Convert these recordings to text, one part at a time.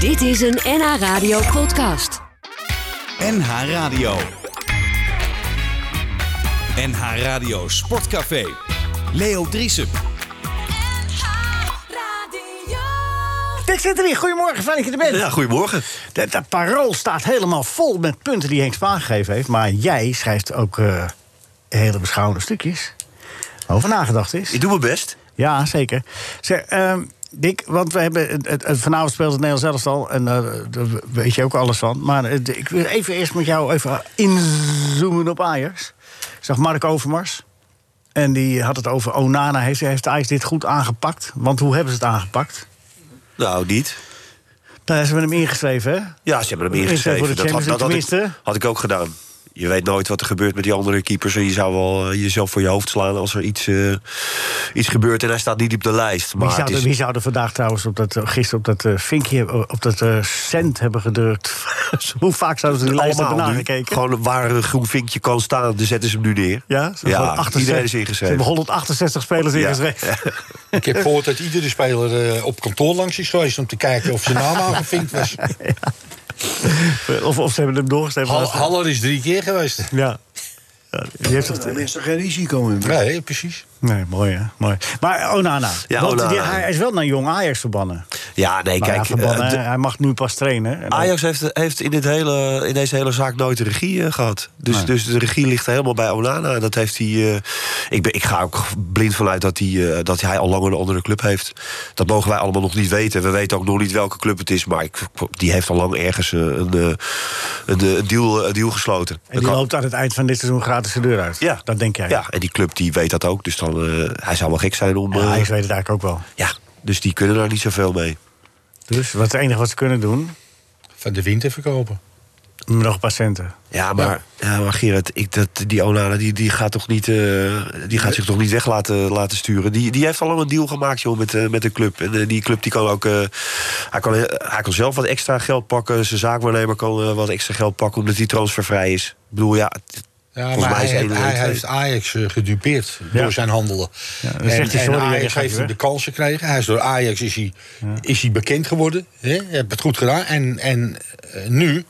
Dit is een NH Radio podcast. NH Radio. NH Radio Sportcafé. Leo Driesen. Kijk, zit er weer. Goedemorgen, fijn dat je er bent. Ja, goedemorgen. Dat, dat parool staat helemaal vol met punten die Henk Spaan gegeven heeft. Maar jij schrijft ook eh, hele beschouwende stukjes. Over nagedacht is. Ik doe mijn best. Ja, zeker. Zeg, ehm, Dick, want we hebben het, het- het- vanavond speelt het Nederlands elftal. En eh, daar weet je ook alles van. Maar eh, ik wil even eerst met jou even inzoomen op Ajax. Ik zag Mark Overmars. En die had het over Onana. Heeft, heeft Ajax dit goed aangepakt? Want hoe hebben ze het aangepakt? Nou, niet. Daar hebben we hem ingeschreven, hè? Ja, ze hebben hem Is hij voor de ingeschreven. Dat, had, Champions dat had, League ik, tenminste? had ik ook gedaan. Je weet nooit wat er gebeurt met die andere keepers. En je zou wel eh, jezelf voor je hoofd slaan als er iets, eh, iets gebeurt. En hij staat niet op de lijst. Maar Wie zou, het er, is- wie zou er vandaag trouwens op dat, eh, gisteren op dat eh, vinkje, hebben- op dat eh, cent hebben gedrukt? Hoe vaak zouden ze die lijst hebben allemaal nu. nagekeken? Gewoon waar een groen vinkje kan staan, dan zetten ze hem nu neer. ja, ze hebben gewoon 68 iedereen is Ze ingeschreven. hebben 168 spelers Ja. ingeschreven. Ik heb gehoord dat iedere speler eh, op kantoor langs is geweest om te kijken of zijn naam aangevinkt was. Of, of ze hebben hem doorgeschreven. Hall- Haller is drie keer geweest. ja. ja. Die heeft het, Dan is er geen risico in. Nee, precies. nee, mooi hè, mooi. Maar Onana, Ja, want Onana. die- hij is wel naar jong Ajax verbannen. Ja, nee, Maar ja, kijk. verbannen eh, de- hè, hij mag nu pas trainen. En dan- Ajax heeft, heeft in, dit hele, in deze hele zaak nooit de regie eh, gehad. Dus, dus de regie ligt helemaal bij Onana. En dat heeft hij. eh, ik, ben, ik ga ook blind vanuit dat hij, eh, dat hij al lang een andere club heeft. Dat mogen wij allemaal nog niet weten. We weten ook nog niet welke club het is. Maar ik, die heeft al lang ergens eh, een, eh, een, eh, een deal, een deal gesloten. en die Dat kan- loopt aan het eind van dit seizoen gratis de deur uit. ja. Dat denk jij. Ja, en die club die weet dat ook. Dus dan, eh, hij zou wel gek zijn om. Ja, eh, Ajax weet het eigenlijk ook wel. ja, dus die kunnen daar niet zoveel mee. Dus wat het enige wat ze kunnen doen, Mm, Van de winter verkopen. nog een paar centen. Ja, maar, ja, maar Gerard, ik, dat, die Onana die, die gaat, toch niet, eh, die gaat zich toch niet weg laten, laten sturen. Die, die heeft al lang een deal gemaakt joh, met, eh, met de club. En eh, die club die kan ook. eh, hij, kan, hij kan zelf wat extra geld pakken. Zijn zaakwaarnemer kan eh, wat extra geld pakken omdat hij transfervrij is. Ik bedoel, ja. het- Ja, Volgens maar mij hij, is één heeft- en hij twee. heeft Ajax eh, gedupeerd Ja. door zijn handelen. dan en zegt hij, en sorry, ja, dan Ajax gaat hij heeft hem weg. de kans gekregen. Hij is door Ajax is hij, is hij bekend geworden. Hè? Je hebt het goed gedaan. En, en eh, nu,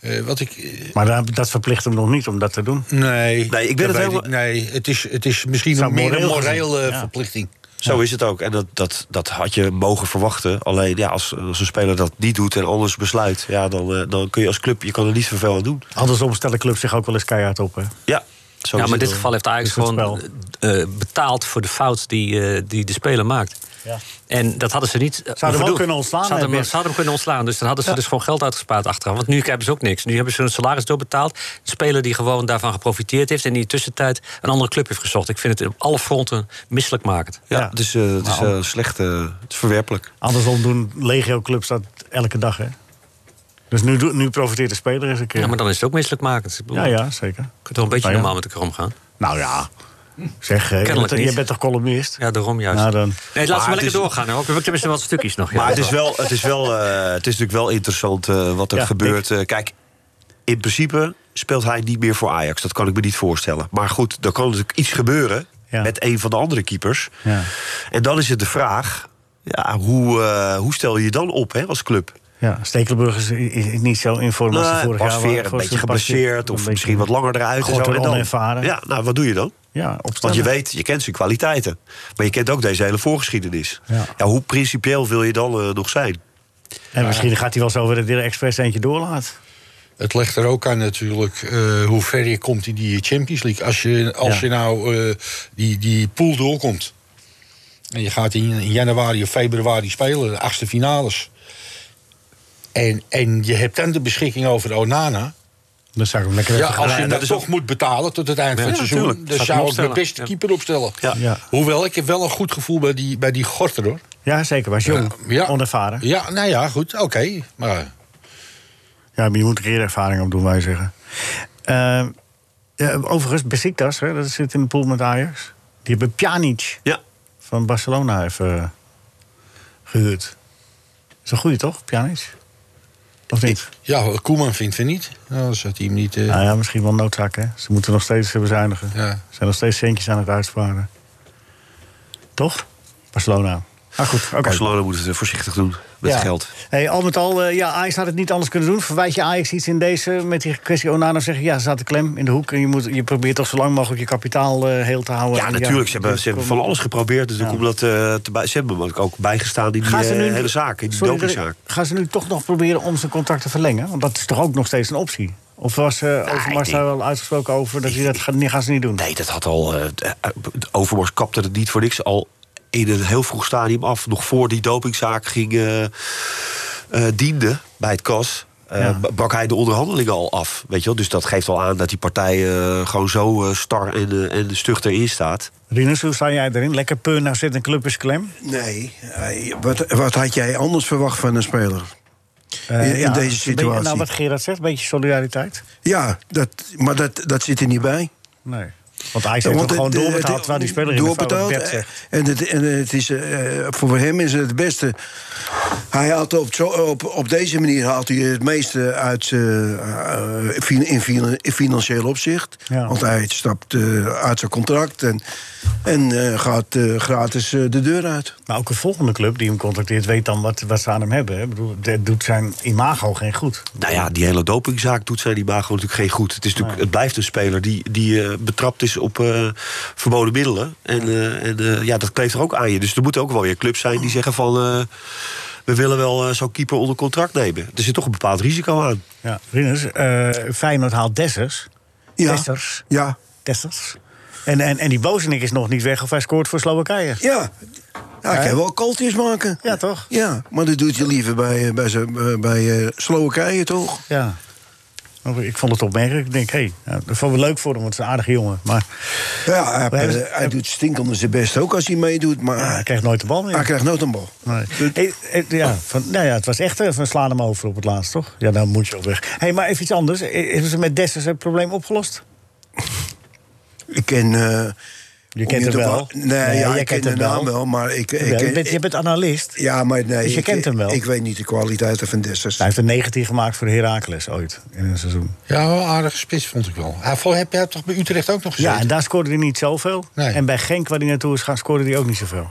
eh, wat ik... eh, Maar dat, dat verplicht hem nog niet om dat te doen. Nee, ben het dat weet helemaal- nee het, is, het is misschien Zou meer een eh, moreel gezien, morele ja. verplichting. Zo is het ook. En dat, dat, dat had je mogen verwachten. Alleen ja, als, als een speler dat niet doet en anders besluit, ja, dan, eh, dan kun je als club je kan er niet zoveel aan doen. Andersom stellen clubs zich ook wel eens keihard op. Hè? Ja, zo Ja, is maar in het dit wel. geval heeft Ajax Is het gewoon eh, betaald voor de fout die, eh, die de speler maakt. Ja. En dat hadden ze niet. eh, hem ook overdoen. kunnen ontslaan, Ze hadden, hè, hem, Bert? ze hadden hem kunnen ontslaan. Dus dan hadden ze dus gewoon geld uitgespaard achteraf. Want nu hebben ze ook niks. Nu hebben ze hun salaris doorbetaald. De speler die gewoon daarvan geprofiteerd heeft. en die in de tussentijd een andere club heeft gezocht. Ik vind het op alle fronten misselijkmakend. Ja, Ja. dus eh, het is Nou, eh, slecht, eh, het is verwerpelijk. Andersom doen legio-clubs dat elke dag. Hè? Dus nu, doet- nu profiteert de speler eens een keer. Ja, maar dan is het ook misselijkmakend. Ik bedoel, ja, ja, zeker. Je kunt toch een beetje Nou ja. normaal met elkaar omgaan. Nou ja, zeg, eh, je, Kennelijk bent, je niet. bent toch columnist? Ja, daarom juist. Nou, dan- Nee, laat ze het maar lekker is- doorgaan. hè. Ook we hebben tenminste wat stukjes nog. ja. Maar het is, wel, het is, wel, eh, het is natuurlijk wel interessant eh, wat er Ja, gebeurt. Eh, kijk, in principe speelt hij niet meer voor Ajax. Dat kan ik me niet voorstellen. Maar goed, er kan natuurlijk iets gebeuren Ja. met een van de andere keepers. Ja. En dan is het de vraag, ja, hoe, eh, hoe stel je je dan op hè, als club? Ja, Stekelenburg is, is- is niet zo in vorm als hij Nou, vorig Bas jaar Veer was. een beetje geblesseerd of misschien wat langer eruit. en Gorter zo. En dan- onervaren. Ja, nou, wat doe je dan? Ja, Want opstellen. je weet, je kent zijn kwaliteiten. Maar je kent ook deze hele voorgeschiedenis. Ja. Ja. hoe principieel wil je dan eh, nog zijn? En misschien gaat hij wel zo weer dat hij er expres eentje doorlaat. Het legt er ook aan natuurlijk eh, hoe ver je komt in die Champions League. Als je, als Ja. je nou eh, die, die pool doorkomt. En je gaat in, in januari of februari spelen, de achtste finales. En, en je hebt dan de beschikking over Onana. Dan zou ik hem lekker Ja, even als je dat hem Ah, dat is toch moet betalen tot het eind van het ja, seizoen... Dus tuurlijk. dan Zou ik hem zou ik mijn opstellen. beste Ja. keeper opstellen. Ja. Ja. Hoewel, ik heb wel een goed gevoel bij die, bij die Gorter, hoor. Ja, zeker. Maar hij is jong, onervaren. Ja, nou ja, goed, oké. Maar Ja, maar je moet er eerder ervaring op doen, wij zeggen. Eh, ja, overigens, Besiktas, hè, dat zit in de pool met Ajax. Die hebben Pjanic Ja, van Barcelona even eh, gehuurd. Is een goede, toch, Pjanic? Of niet? ja, Koeman vindt het niet. Dan zat hij hem niet... eh, Nou ja, misschien wel noodzaak, hè. Ze moeten nog steeds eh, bezuinigen. Ja. Ze zijn nog steeds centjes aan het uitsparen. Toch? Barcelona. Maar Ah, goed, oké. Barcelona moet het eh, voorzichtig doen met Ja. geld. Hey, al met al, eh, ja, Ajax had het niet anders kunnen doen. Verwijt je Ajax iets in deze met die kwestie Onana? Zeggen ja, ze zaten klem in de hoek. En je, moet, je probeert toch zo lang mogelijk je kapitaal eh, heel te houden. Ja, En natuurlijk. Ze hebben, dus ze hebben kom- van alles geprobeerd. Dus om dat, eh, te bij, ze hebben hem ook bijgestaan in die Gaan ze eh, nu- hele zaak, in die Sorry, dopingzaak. Gaan ze nu toch nog proberen om zijn contract te verlengen? Want dat is toch ook nog steeds een optie? Of was eh Overmars ik daar wel uitgesproken over dat hij dat gaat, gaan ze niet doen? Nee, dat had al. eh, de- eh, Overmars kapte het niet voor niks al in een heel vroeg stadium af. Nog voor die dopingzaak ging, eh, eh, diende bij het KAS. eh, Ja. b- brak hij de onderhandelingen al af. Weet je wel? Dus dat geeft al aan dat die partij eh, gewoon zo eh, star en, eh, en stug erin staat. Rinus, hoe sta jij erin? Lekker peur, nou zit een club is klem. Nee, eh, wat, wat had jij anders verwacht van een speler? Eh, in deze een beetje- situatie. nou, wat Gerard zegt, een beetje solidariteit. Ja, dat, maar dat, dat zit er niet bij. Nee. Want Ajax heeft Want hem gewoon het- eh, het- doorbetaald, het- terwijl die speler in de doorbetaald, fout eh. zegt. En, het, en het is, eh, voor hem is het het beste. Hij haalt op, zo, op, op deze manier haalt hij het meeste uit eh, eh, fin- in, fin- in financieel opzicht. Ja. Want hij stapt eh, uit zijn contract en, en eh, gaat eh, gratis eh, de deur uit. Maar ook een volgende club die hem contacteert weet dan wat, wat ze aan hem hebben. hè. Ik bedoel, dat doet zijn imago geen goed. Nou ja, die hele dopingzaak doet zijn imago natuurlijk geen goed. Het, is natuurlijk, het blijft een speler die, die eh, betrapt is op eh, verboden middelen. En, eh, en eh, ja, dat kleeft er ook aan je. Dus er moeten ook wel weer clubs zijn die zeggen van... eh, we willen wel eh, zo'n keeper onder contract nemen. Er zit toch een bepaald risico aan. Ja, Rinus, eh Feyenoord haalt Dessers. Ja. Dessers. Ja, Dessers. En, en, en die Bozenik is nog niet weg of hij scoort voor Slowakije. ja. ja hij kan wel kooltjes maken. Ja, toch? Ja, maar dat doet je liever bij, eh, bij, zo- eh, bij eh, Slowakije, toch? Ja. Maar Ik vond het opmerkelijk. Ik denk, hé, hey, nou, dat vond ik leuk voor hem, want het is een aardige jongen. Maar Ja, hij, Maar hebben ze- eh, hij doet stinkende zijn best ook als hij meedoet, maar ja, hij krijgt nooit de bal meer. hij krijgt nooit een bal. Nee. Hey, hey, ja, van, nou ja, het was echt eh, van slaan hem over op het laatst, toch? Ja, dan moet je op weg. hey, maar even iets anders. Eh, Hebben ze met Dessers het probleem opgelost? Ik ken. eh, Je om kent je hem te wel. wa- Nee, ja, ik ken de naam wel, maar ik. ik, Ja, je, ik- bent, je bent analist. ja, maar nee. Dus je ik- kent hem wel? Ik weet niet de kwaliteiten van Dessers. Hij heeft een 19 gemaakt voor Heracles ooit in een seizoen. Ja, wel een aardige spits vond ik wel. Hij vol- heb jij toch bij Utrecht ook nog gezien? Ja, en daar scoorde hij niet zoveel. Nee. En bij Genk, waar hij naartoe is gaan, scoorde hij ook niet zoveel.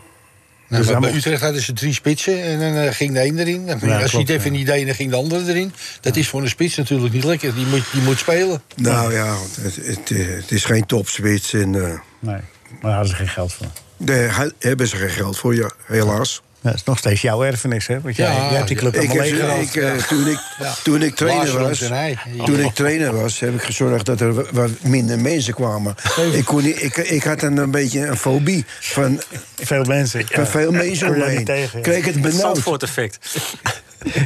Nou, Dus maar hij bij mocht- Utrecht hadden ze drie spitsen en dan eh, ging de een erin. Dan Ja, als klopt, niet even ja. niet de ene, ging de andere erin. Dat is voor een spits natuurlijk niet lekker. Die moet, die moet spelen. Nou ja, want het, het, eh, het is geen topspits en eh, Nee, maar daar hadden ze geen geld voor. daar ha- hebben ze geen geld voor, ja, helaas. Dat is nog steeds jouw erfenis, hè? Want jij, Ja, jij hebt die club ja. Ik allemaal heb, ze- leeggehaald. ik, eh, toen, ik, toen ik trainer Laarzen was, en hij. Ja. toen ik trainer was, heb ik gezorgd dat er wa- wat minder mensen kwamen. Ik, kon niet, ik, ik had een, een beetje een fobie van, Veel mensen. van veel mensen om me Kon je niet heen. tegen, ja. Kreeg het benauwd. Zandvoort effect.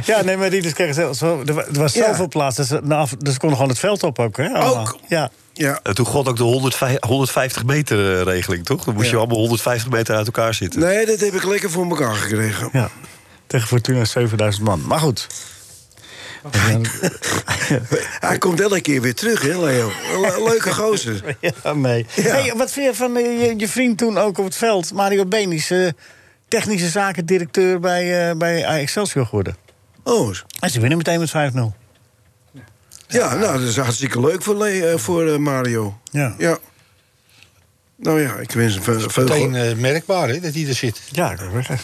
Ja, nee, maar die dus kregen zelfs wel- Er wa- er was Ja. zoveel plaats. Dus, na af- dus ze konden gewoon het veld op ook, hè? allemaal. Ook. Ja. Ja, En toen god ook de 105 150 meter eh, regeling, toch? Dan moest je allemaal 150 meter uit elkaar zitten. nee, dat heb ik lekker voor elkaar gekregen. ja. Tegen Fortuna 7000 man. Maar goed. Hij komt elke keer weer terug, hè, Leo? Le- Leuke gozer. Ja, nee. Hey, wat vind je van eh, je, je vriend toen ook op het veld? Mario Benis, eh, technische zaken directeur bij, eh bij Excelsior geworden. Oh, En ze winnen meteen met 5-0. ja, nou, dat is hartstikke leuk voor, Le- eh, voor eh, Mario. Ja. ja. Nou ja, ik wens hem veel, veel Meteen geluk. eh, merkbaar hè, dat hij er zit. Ja, ik wil zeggen.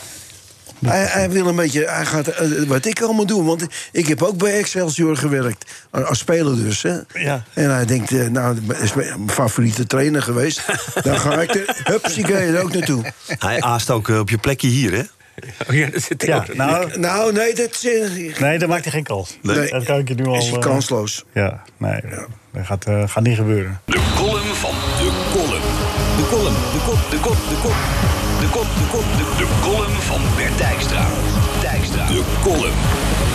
Hij, hij wil een beetje, hij gaat eh, wat ik allemaal doe. Want ik heb ook bij Excelsior gewerkt. a- Als speler dus. Hè. Ja. En hij denkt, eh, nou, dat is mijn favoriete trainer geweest. Dan ga ik er, hupsieke, er ook naartoe. Hij aast ook eh, op je plekje hier, hè? Oh ja, dat zit Ja, ook. nou, Nou, nee, dat is, eh, nee, dan maakt hij geen kans. Nee. Dat kan ik je nu al... is eh, kansloos. Ja, nee, dat gaat, eh, gaat niet gebeuren. De column van de column. De column, de kop, de kop, de kop. De kop, de kop, de De column van Bert Dijkstra. Dijkstra. De column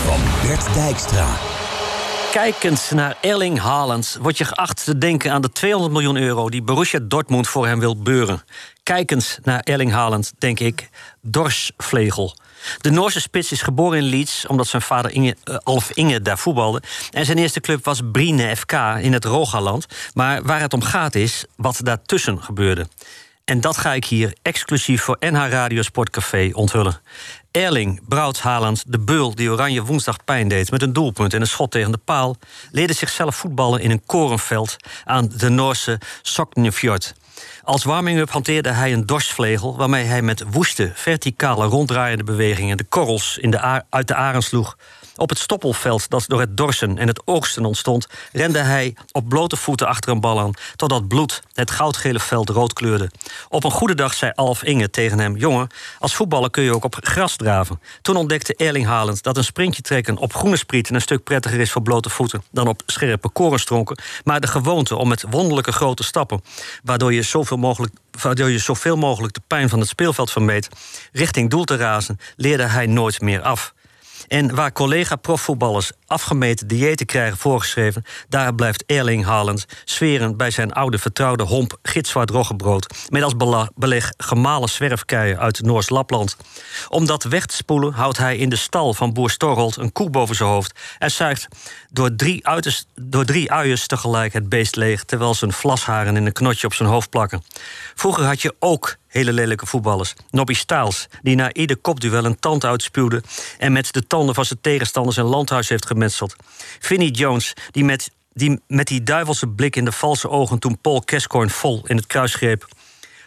van Bert Dijkstra. Kijkend naar Erling Haaland wordt je geacht te denken aan de 200 miljoen euro die Borussia Dortmund voor hem wil beuren. Kijkend naar Erling Haaland denk ik dorsvlegel. De Noorse spits is geboren in Leeds omdat zijn vader Inge, eh, Alf Inge daar voetbalde. En zijn eerste club was Brine FK in het Rogaland. Maar waar het om gaat is wat daartussen gebeurde. En dat ga ik hier exclusief voor NH Radio Sportcafé onthullen. Erling Braut Haaland, de beul die Oranje woensdag pijn deed... met een doelpunt en een schot tegen de paal... leerde zichzelf voetballen in een korenveld aan de Noorse Soknefjord. Als warming-up hanteerde hij een dorsvlegel waarmee hij met woeste, verticale, ronddraaiende bewegingen de korrels in de a- uit de aren sloeg. Op het stoppelveld dat door het dorsen en het oogsten ontstond, rende hij op blote voeten achter een bal aan, totdat bloed het goudgele veld rood kleurde. Op een goede dag zei Alf Inge tegen hem: Jongen, als voetballer kun je ook op gras draven. Toen ontdekte Erling Haaland dat een sprintje trekken op groene sprieten een stuk prettiger is voor blote voeten dan op scherpe korenstronken, maar de gewoonte om met wonderlijke grote stappen, waardoor je zoveel mogelijk waardoor je zoveel mogelijk de pijn van het speelveld vermeed, richting doel te razen, leerde hij nooit meer af. En waar collega-profvoetballers afgemeten diëten krijgen voorgeschreven, daar blijft Erling Haaland sferen bij zijn oude vertrouwde homp gitzwart roggebrood. Met als bela- beleg gemalen zwerfkeien uit Noors-Lapland. Om dat weg te spoelen houdt hij in de stal van boer Storholt een koe boven zijn hoofd. En zuigt door drie, uiters, door drie uiers tegelijk het beest leeg, terwijl zijn vlasharen in een knotje op zijn hoofd plakken. Vroeger had je ook hele lelijke voetballers. Nobby Staals, die na ieder kopduel een tand uitspuwde... en met de tanden van zijn tegenstanders een landhuis heeft gemetseld. Vinnie Jones, die met die, met die duivelse blik in de valse ogen... toen Paul Kescorn vol in het kruis greep.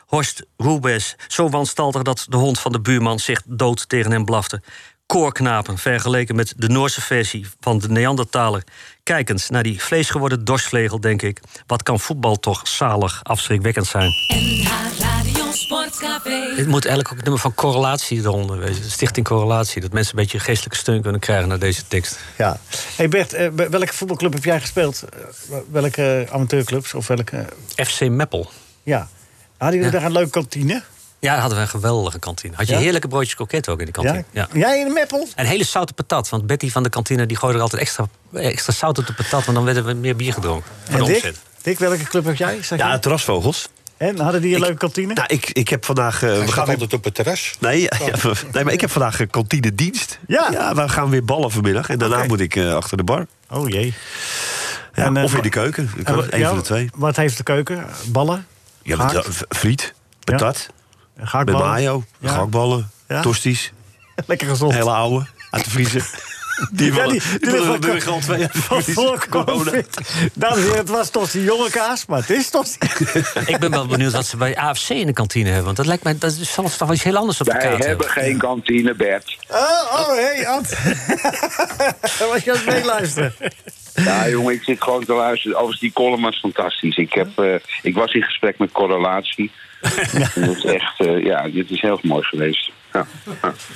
Horst Rubes, zo wanstaltig dat de hond van de buurman zich dood tegen hem blafte. Koorknapen, vergeleken met de Noorse versie van de Neandertaler. Kijkend naar die vleesgeworden dorsvlegel, denk ik... wat kan voetbal toch zalig afschrikwekkend zijn. NH Radio Sportcafé. Het moet eigenlijk ook het nummer van correlatie eronder wezen. Stichting Correlatie. Dat mensen een beetje geestelijke steun kunnen krijgen naar deze tekst. Ja. Hey Bert, eh, bij welke voetbalclub heb jij gespeeld? Eh, Welke amateurclubs? Of welke, eh, FC Meppel. ja. Hadden jullie daar een leuke kantine? Ja, hadden we een geweldige kantine. Had je Ja? heerlijke broodjes kroket ook in de kantine. Ja. Jij in de Meppel? En hele zoute patat. Want Betty van de kantine die gooide er altijd extra, extra zout op de patat. Want dan werden we meer bier gedronken. Van En de Dick? omzet. Dick, welke club heb jij? Zeg Ja, je? terrasvogels. En hadden die een Ik- leuke kantine? Nou, ik, ik heb vandaag... eh, Hij we gaat gaan weer- altijd op het terras. Nee, ja, ja, nee, maar ik heb vandaag eh, kantine dienst. Oh. Ja. we gaan weer ballen vanmiddag. En daarna Oké. moet ik eh, achter de bar. Oh jee. Ja, En, eh, of in wa- de keuken. Ik kan En wa- Een ja, van de twee. Wat heeft de keuken? Ballen? Ja, met, Gehakt? eh, v- friet, patat, met Gehaktballen? mayo, Ja. gehaktballen, Ja. tosties. Lekker gezond. Hele oude, uit de vriezer. Die Ja, willen die- die ligt wel- we al twee jaar Van vriezen. voorkomen fit. Dames en heren, het was toch die jonge kaas, maar het is toch Ik ben wel benieuwd wat ze bij AFC in de kantine hebben. Want dat lijkt mij, dat is zelfs toch wel iets heel anders op de Wij kaart hebben hebben. geen kantine, Bert. Oh, oh, hey, Ad. was je aan het meeluisteren? Ja, jongen, ik zit gewoon te luisteren. Overigens, die column was fantastisch. Ik, heb, eh, ik was in gesprek met Correlatie. Dat is echt, eh, ja, dit is heel mooi geweest. Ja.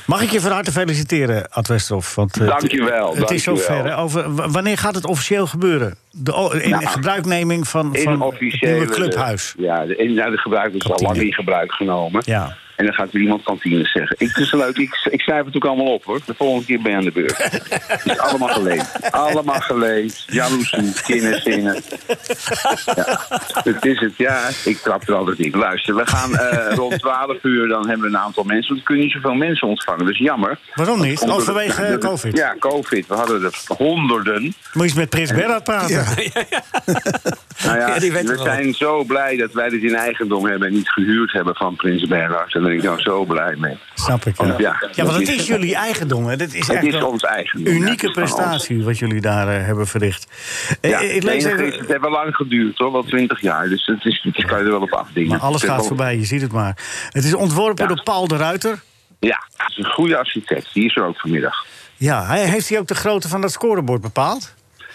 Mag ik je van harte feliciteren, Ad Westerhof? Want, eh, Dankjewel, Het is dankjewel. zover. hè, Over, w- wanneer gaat het officieel gebeuren? De, o- in Nou, gebruikneming van, In van officiële... eh, het nieuwe clubhuis. Ja, de, in, nou, de gebruik is al Kantine. lang in gebruik genomen. Ja. En dan gaat er iemand kantine zeggen. Ik, het is leuk, ik, ik schrijf het ook allemaal op hoor. De volgende keer ben je aan de beurt. Het is allemaal geleend. Allemaal geleend. Jaloezie, kinderzinnen. Ja, dat is het, ja. Ik trap er altijd in. Luister, we gaan eh, rond 12 uur, dan hebben we een aantal mensen. Want we kunnen niet zoveel mensen ontvangen, dus jammer. Waarom niet? Omdat Oh, het- vanwege eh, dat- COVID. Ja, covid. We hadden er honderden. Moet je eens met Prins Bernhard praten. Nou ja, Ja, die weet we het wel. zijn zo blij dat wij dit in eigendom hebben en niet gehuurd hebben van Prins Bernhard. En daar ben ik nou zo blij mee. Snap ik. Ja. Ja, ja. Ja. want het is jullie eigendom. Hè. Dat is Het echt is een ons eigendom. ja, het unieke is van ons. prestatie wat jullie daar eh, hebben verricht. Eh, Ja, eh, ik lees het enige even... is, het heeft wel lang geduurd hoor, wel 20 jaar. Dus het is, het kan je er wel op afdingen. Maar alles Het is gaat wel- voorbij, je ziet het maar. Het is ontworpen Ja. door Paul de Ruiter. Ja, het is een goede architect. Die is er ook vanmiddag. Ja, hij, heeft hij ook de grootte van dat scorebord bepaald?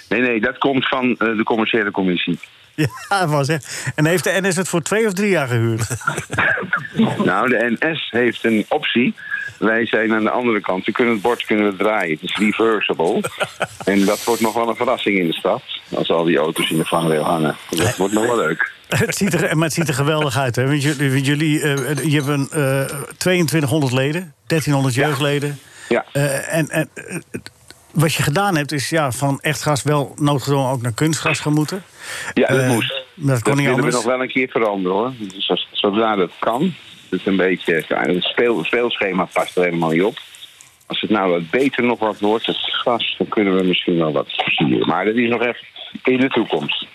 Nee, nee, dat komt van eh, de commerciële commissie. Ja, hij was hè. En heeft de NS het voor twee of drie jaar gehuurd? Nou, de NS heeft een optie. Wij zijn aan de andere kant. We kunnen het bord kunnen we draaien. Het is reversible. en dat wordt nog wel een verrassing in de stad. Als al die auto's in de vangrail hangen. Dat wordt nog wel leuk. het ziet er, maar het ziet er geweldig uit, hè? Want jullie, want jullie eh, je hebt een, eh, 2200 leden, 1300 jeugdleden. Ja. Eh, en en eh, het- wat je gedaan hebt, is ja, van echt gas wel noodgedwongen ook naar kunstgras gaan moeten. Ja, dat Eh, moest. maar dat kon niet willen anders. we nog wel een keer veranderen hoor. Dus als- zodra dat kan. Het, is een beetje, ja, het speel, speelschema past er helemaal niet op. Als het nou wat beter nog wat wordt, het gras, dan kunnen we misschien wel wat versieren. Maar dat is nog echt in de toekomst.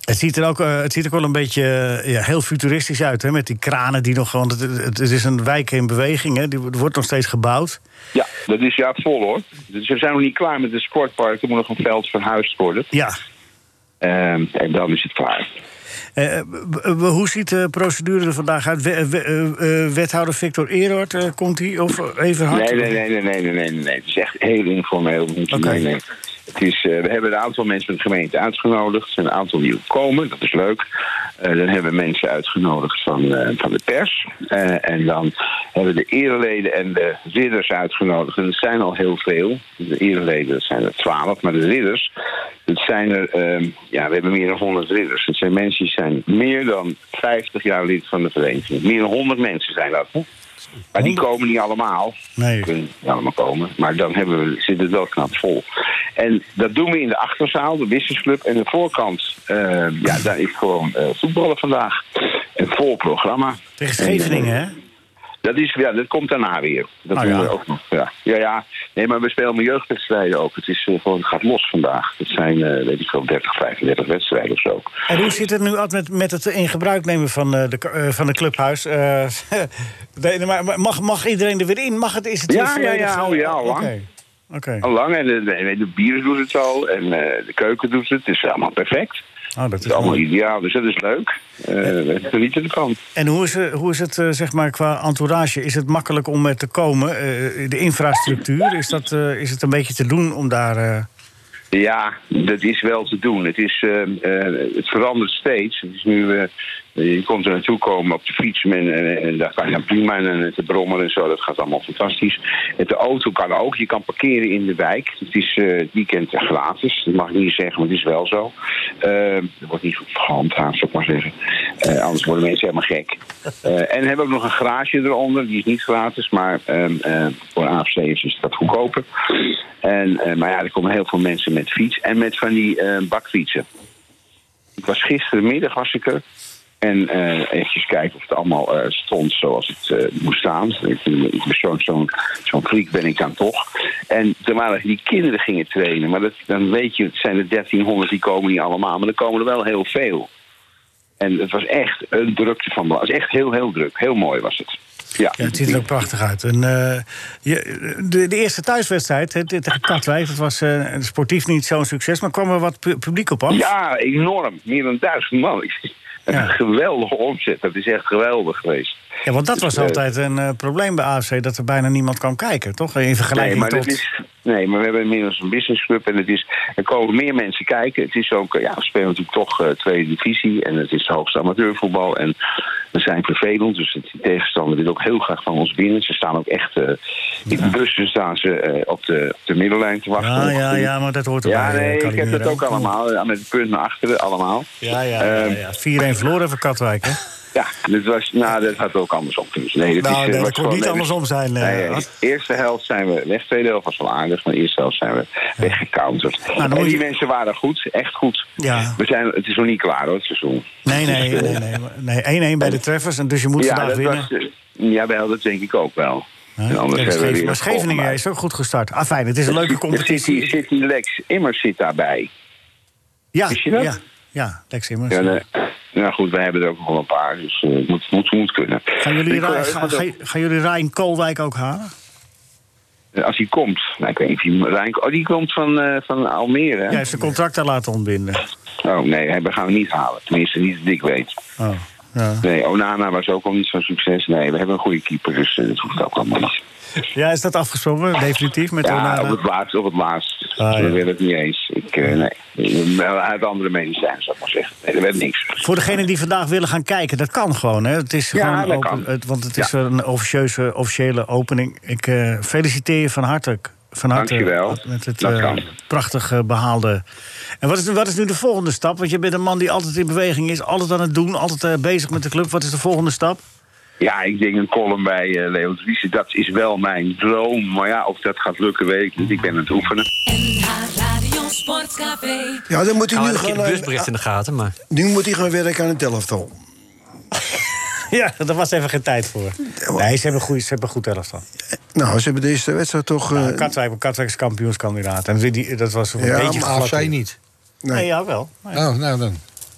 Het ziet er ook, eh, het ziet er ook wel een beetje eh, ja, heel futuristisch uit, hè? Met die kranen die nog gewoon. Het, het, het is een wijk in beweging, hè? Die wordt wordt nog steeds gebouwd. Ja, dat is ja vol hoor. Dus we zijn nog niet klaar met het sportpark. Er moet nog een veld verhuisd worden. Ja, Ehm, en dan is het klaar. Eh, w- w- hoe ziet de procedure er vandaag uit? We- eh, we- eh, eh, wethouder Victor Eerhard, eh, komt hij? Of even hard? Nee, nee, nee, nee, nee, nee, nee, nee. Het is echt heel informeel. Niet- Oké. nee, nee. Het is, eh, we hebben een aantal mensen van de gemeente uitgenodigd. Er zijn een aantal die ook komen, dat is leuk. Eh, dan hebben we mensen uitgenodigd van, eh, van de pers. Eh, en dan hebben we de ereleden en de ridders uitgenodigd. En dat zijn al heel veel. De ereleden, dat zijn er twaalf. Maar de ridders, dat zijn er... eh, ja, we hebben meer dan 100 ridders. Het zijn mensen die zijn meer dan 50 jaar lid van de vereniging. Meer dan 100 mensen zijn dat, hè? Maar die komen niet allemaal. Nee. Die Kunnen niet allemaal komen. Maar dan hebben we, zit het wel knap vol. En dat doen we in de achterzaal, de Business Club. En de voorkant, eh, ja, daar is gewoon eh, voetballen vandaag. Een vol programma. eh, Tegen Scheveningen, hè? Dat, is, ja, dat komt daarna weer. Dat Ah, doen ja. we ook nog. Ja. ja, ja. Nee, maar we spelen met jeugdwedstrijden ook. Het, is, eh, gewoon, het gaat los vandaag. Het zijn, eh, weet ik veel, 30, 35 wedstrijden of zo. En hoe zit het nu Ad, met, met het in gebruik nemen van, eh, de, k- eh, van het clubhuis? Eh, nee, maar maar mag, mag iedereen er weer in? Mag het, is het Ja, weer ja, volledig, ja, eh, oh ja, lang. Oké. Oké. Al lang. En eh, de, de bieren doet het al. En eh, de keuken doet het. Het is allemaal perfect. Oh, dat Het is is allemaal mooi. ideaal, dus dat is leuk. Eh we genieten ervan. En hoe is, eh, hoe is het eh, zeg maar, qua entourage? Is het makkelijk om er te komen? Eh, de infrastructuur, is, dat, eh, is het een beetje te doen om daar... eh, Ja, dat is wel te doen. Het, is, eh, eh, het verandert steeds. Het is nu, eh, je komt er naartoe komen op de fiets en, en, en daar kan je dan prima en, en te brommen en zo. Dat gaat allemaal fantastisch. En de auto kan ook. Je kan parkeren in de wijk. Het is eh, het weekend gratis. Dat mag ik niet zeggen, maar het is wel zo. Eh, er wordt niet gehandhaafd, zou ik maar zeggen. Eh, anders worden mensen helemaal gek. Eh, en we hebben ook nog een garage eronder. Die is niet gratis, maar ehm, eh, voor AFC'ers is dat goedkoper. En, eh, maar ja, er komen heel veel mensen met fiets en met van die eh, bakfietsen. Ik was gisterenmiddag was ik er. En eh eventjes kijken of het allemaal eh, stond zoals het eh, moest staan. Ik ben- ik ben zo'n zo'n zo'n freak ben ik dan toch. En er waren die kinderen gingen trainen. Maar dat, dan weet je, het zijn er 1300, die komen niet allemaal. Maar er komen er wel heel veel. En het was echt een drukte van... Het was echt heel, heel druk. Heel mooi was het. Ja, Ja, het ziet er ook prachtig uit. En, eh, je, de, de eerste thuiswedstrijd hè, tegen Katwijk, dat was eh, sportief niet zo'n succes, maar kwam er wat pu- publiek op af. Ja, enorm. Meer dan duizend man. Ja. Een geweldige omzet. Dat is echt geweldig geweest. Ja, want dat was eh, altijd een eh, probleem bij AFC, dat er bijna niemand kwam kijken, toch? In Nee vergelijking maar, dat tot... is, nee, maar we hebben inmiddels een businessclub en het is, er komen meer mensen kijken. Het is ook, eh, ja, we spelen natuurlijk toch eh, tweede divisie en het is de hoogste amateurvoetbal. En we zijn vervelend, dus de tegenstander wil ook heel graag van ons binnen. Ze staan ook echt, eh, in de bussen staan ze eh, op, de, op de middenlijn te wachten. Ja, ja, ja, maar dat hoort erbij. Ja, eh, nee, ik heb Calimero. dat ook allemaal. Ja, met het punt naar achteren, allemaal. Ja, ja, ja, Ehm, ja. 4-1 verloren voor Katwijk, hè? Ja, dit was, nou, dat had ook andersom kunnen zijn. Nee, dat, Nou, is, eh, nee, dat was kon gewoon- niet nee, andersom zijn, eh, nee, Ad. eerste helft zijn we weg, tweede helft was wel aardig, maar eerste helft zijn we weggecounterd. Nou, dan en moet die je- mensen waren goed, echt goed. Ja. We zijn, het is nog niet klaar hoor, het seizoen. Nee, nee, nee. nee, maar- nee, 1-1 bij de treffers, en dus je moet vandaag dat winnen. was, eh, jawel, dat denk ik ook wel. Hè? En anders hebben Tegen we Scheven- weer Eh, maar een school Scheveningen gemaakt. is ook goed gestart. Ah, fijn, het is een leuke Er competitie. Zit die Lex Immers zit daarbij. Ja, Wist je dat? ja, ja, Lex Immers. Ja, nee. Nou goed, wij hebben er ook nog wel een paar, dus eh, het moet, moet, moet kunnen. Gaan jullie, Ik hoor Ra- ook ga, nog dat- ga- gaan jullie Rijn Koolwijk ook halen? Als hij komt, nou, ik weet niet of hij... Rijn- Oh, die komt van, eh, van Almere. hè? Jij heeft zijn contract daar laten ontbinden. Oh nee, hem gaan we niet halen. Tenminste, niet dat ik weet. Oh, ja. Nee, Onana was ook al niet zo'n succes. Nee, we hebben een goede keeper, dus eh, dat hoeft ook allemaal niet. ja, is dat afgesproken, definitief, met Ja, op Onana? het laatst, op het laatst. Ah, ja. We willen het niet eens. Ik, eh, nee, Wel uit andere mening zijn, zou ik maar zeggen. Nee, dat werd niks. Voor degenen die vandaag willen gaan kijken, dat kan gewoon. Hè? Het is Ja, gewoon dat open- kan. het- want het is een officieuze, officiële opening. Ik eh, feliciteer je van harte. Van harte Dankjewel. Met het Dat eh, kan. prachtig eh, behaalde. En wat is, wat is nu de volgende stap? Want je bent een man die altijd in beweging is, altijd aan het doen, altijd eh, bezig met de club. Wat is de volgende stap? Ja, ik denk een column bij eh, Leo Driessen. Dat is wel mijn droom. Maar ja, of dat gaat lukken, weet ik niet. Ik ben aan het oefenen. NH Radio Sportcafé. Ja, dan moet hij Nou, nu ik heb gaan, de eh, busbericht in de gaten, maar... nu moet hij gaan werken aan een telefoon. Ja, daar was even geen tijd voor. Nee, ze hebben, goeie, ze hebben een goed elftal. Nou, ze hebben deze wedstrijd toch... eh, Katwijk, Katwijk is kampioenskandidaat. En die, dat was een Ja, beetje maar AFC gevlakt. niet. Nee, nee, ja, wel. Nee. Nou, nou dan.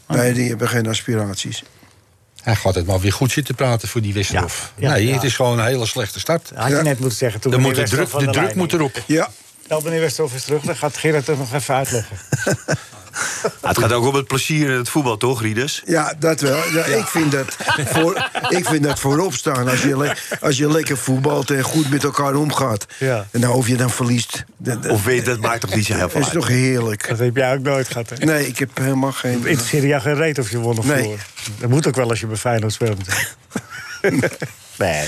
nee, die hebben geen aspiraties. Hij gaat het maar weer goed zitten praten voor die Westerhof. Ja, ja, nee, ja. het is gewoon een hele slechte start. Had je Ja. net moeten zeggen toen Dan moet meneer de druk, Westerhof de aan druk lijn moet hing. erop. Ja, Nou, meneer Westerhof is terug, dan gaat Gerard het nog even uitleggen. Maar het gaat ook om het plezier in het voetbal, toch, Rieders? Ja, dat wel. Ja, Ik, vind dat voor, ik vind dat voorop staan. Als je, le- als je lekker voetbalt en goed met elkaar omgaat. Ja. En nou, of je dan verliest. Dat, dat Of weet dat maakt toch niet zo heel veel is uit? toch heerlijk. Dat heb jij ook nooit gehad, hè? Nee, ik heb helemaal geen... Interesseer jou geen reet of je won of Nee. verloor. Dat moet ook wel als je bij Feyenoord speelt. nee.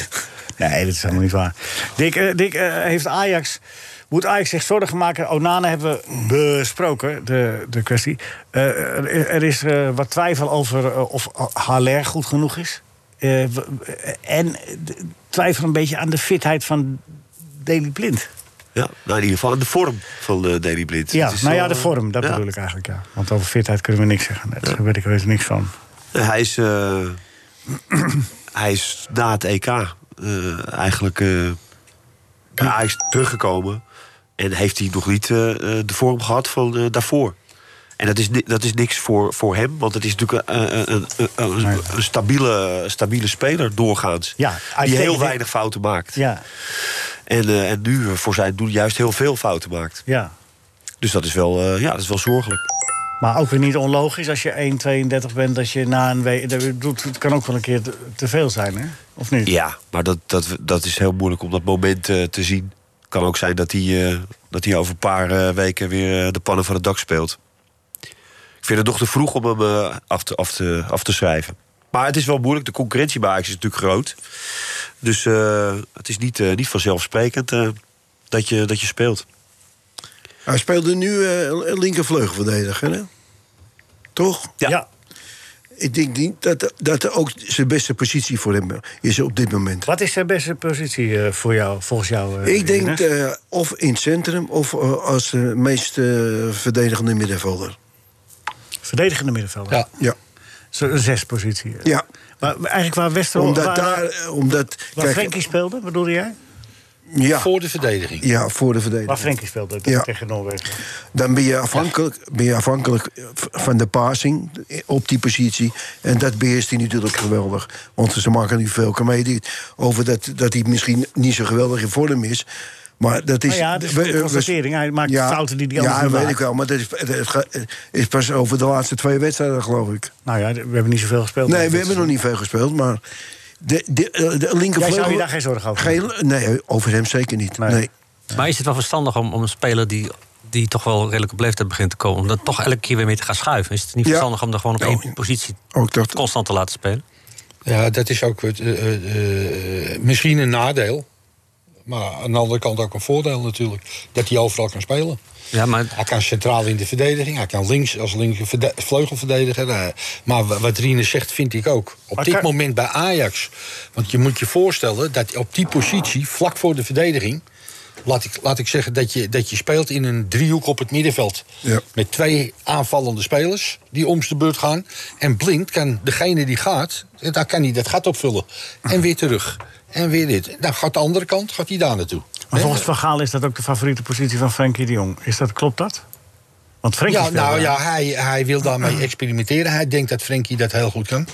nee, dat is helemaal niet waar. Dick, eh, Dick eh, heeft Ajax... Moet Ajax zich zorgen maken? Onana hebben we besproken, de, de kwestie. Eh, er, er is eh, wat twijfel over eh, of Haller goed genoeg is. Eh, w- en twijfel een beetje aan de fitheid van Daley Blind. Ja, nou in ieder geval de vorm van eh Davy Blind. Ja, Het is nou wel, ja, de eh, vorm, dat ja. bedoel ik eigenlijk, ja. Want over fitheid kunnen we niks zeggen. Daar weet ik weet niks van. Ja, Hij is, eh, hij is na het EK eh, eigenlijk eh bij Ajax teruggekomen. En heeft hij nog niet eh, eh, de vorm gehad van eh, daarvoor. En dat is, ni- dat is niks voor, voor hem, want het is natuurlijk een, een- een, een- een- Nee. een stabiele, stabiele speler doorgaans. Ja, hij die heel tegen- weinig fouten maakt. Ja, En, eh, en nu eh, voor zijn doen juist heel veel fouten maakt. ja. Dus dat is wel, eh, ja, dat is wel zorgelijk. Maar ook weer niet onlogisch als je 1,32 bent, dat je na een week. dat doet- Het kan ook wel een keer te- te veel zijn, hè? Of niet? Ja, maar dat, dat, dat is heel moeilijk om dat moment eh, te zien. kan ook zijn dat hij, eh, dat hij over een paar eh, weken weer eh, de pannen van het dak speelt. Ik vind het nog te vroeg om hem eh, af, te, af, te, af te schrijven. Maar het is wel moeilijk. De concurrentie bij Ajax is natuurlijk groot. Dus eh, het is niet, eh, niet vanzelfsprekend eh, dat, je, dat je speelt. Hij speelde nu eh linkervleugelverdediger, hè? Toch? Ja. Ik denk niet dat dat ook zijn beste positie voor hem is op dit moment. Wat is zijn beste positie eh, voor jou, volgens jou? eh, Ik denk Ines? eh, of in het centrum of eh, als de meest eh, verdedigende middenvelder. Verdedigende middenvelder. Ja. Ja, Zo'n zespositie. eh. ja. Maar eigenlijk waar Westerlo. omdat waar, daar... eh, Omdat, waar kijk, Frenkie speelde, bedoelde jij? ja, Voor de verdediging. ja, voor de Waar verdediging. Frenkie speelde te- Ja. tegen Noorwegen. Dan ben je, afhankelijk, ben je afhankelijk eh, van de passing eh, op die positie. En dat beheerst hij natuurlijk geweldig. Want ze maken nu veel comedie over dat, dat hij misschien niet zo geweldig in vorm is. Maar dat is... Nou ja, dat is een we- we- constatering. Hij maakt fouten die hij anders Ja, niet weet maakt. ik wel. Maar dat is, het gaat- het is pas over de laatste twee wedstrijden, geloof ik. Nou ja, d- we hebben niet zoveel gespeeld. Nee, we hebben nog niet veel gespeeld, maar... De, de, eh, de linkervleugel... Jij zou je daar geen zorgen over Geen- nee, over hem zeker niet. Nee. Nee. Maar is het wel verstandig om, om een speler die, die toch wel redelijk op leeftijd begint te komen... om dat toch elke keer weer mee te gaan schuiven? Is het niet Ja. verstandig om er gewoon op Nou, één positie Ook dat. constant te laten spelen? Ja, dat is ook het, eh, eh, eh, misschien een nadeel. Maar aan de andere kant ook een voordeel natuurlijk. Dat hij overal kan spelen. Ja, maar Hij kan centraal in de verdediging. Hij kan links als linker verde- vleugelverdediger. eh. maar wa- wat Riener zegt, vind ik ook. Op Maar dit kan- moment bij Ajax. Want je moet je voorstellen dat op die positie, vlak voor de verdediging... Laat ik, laat ik zeggen dat je, dat je speelt in een driehoek op het middenveld. Ja. Met twee aanvallende spelers die om de beurt gaan. En blind kan degene die gaat, eh, daar kan hij dat gat opvullen. En weer terug. En weer dit. Dan gaat de andere kant, gaat hij daar naartoe. Maar Hè? volgens Van Gaal is dat ook de favoriete positie van Frenkie de Jong. Is dat, klopt dat? Want Frenkie Ja, speelde nou daar. ja, hij, hij wil daarmee experimenteren. Hij denkt dat Frenkie dat heel goed kan.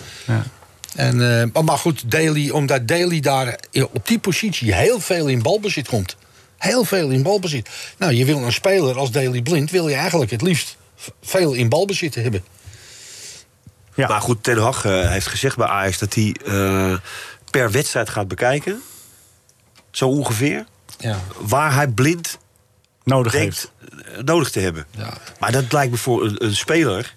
En, eh, maar- maar goed, Daly, omdat Daly daar eh, op die positie heel veel in balbezit komt. Heel veel in balbezit. Nou, je wil een speler als Daly Blind... wil je eigenlijk het liefst v- veel in balbezit hebben. Ja. Maar goed, Ten Hag eh, heeft gezegd bij Ajax dat hij eh, per wedstrijd gaat bekijken. Zo ongeveer. Ja. Waar hij blind nodig heeft. denkt eh, nodig te hebben. Ja. Maar dat lijkt me voor een, een speler.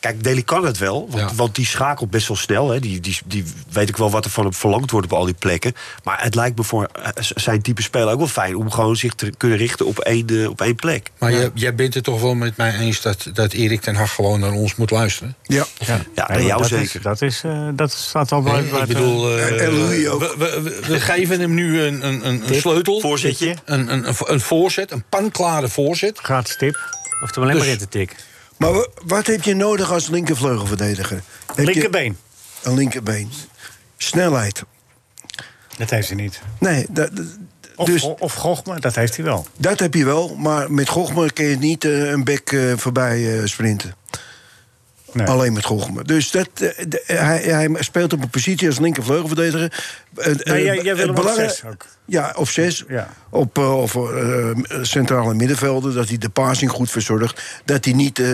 Kijk, Deli kan het wel, want, Ja. want die schakelt best wel snel. Hè. Die, die, die weet ik wel wat er van hem verlangd wordt op al die plekken. Maar het lijkt me voor eh, z- zijn type speler ook wel fijn om gewoon zich te kunnen richten op één, eh, op één plek. Maar je- jij bent het toch wel met mij eens dat, dat Erik ten Hag gewoon naar ons moet luisteren? Ja. Ja, Nee, en maar jou dat zeker. Is, dat, is, eh, dat staat al Nee, bij. ik bedoel, eh, en Louis ook. we, we, we- we geven hem nu een, een, een, een sleutel. Voorzetje. Een, een, een, een voorzet, een panklare voorzet. Gaat stip. hoeft hem alleen maar Dus- in te tikken. Maar wa- wat heb je nodig als linkervleugelverdediger? Heb je Linkerbeen. Een linkerbeen. Snelheid. Dat heeft hij niet. Nee, dat, Of, dus of Gochme, dat heeft hij wel. dat heb je wel. Maar met Gochmer kun je niet eh, een bek eh, voorbij eh, sprinten. Nee. Alleen met Gochme. Dus dat, eh, de- hij, hij speelt op een positie als linkervleugelverdediger. Eh, Nee, eh, jij- jij wil het hem op belangrij- zes ook. Ja, op zes. Ja. Op, eh, of eh, centrale middenvelden. Dat hij de passing goed verzorgt. Dat hij niet eh,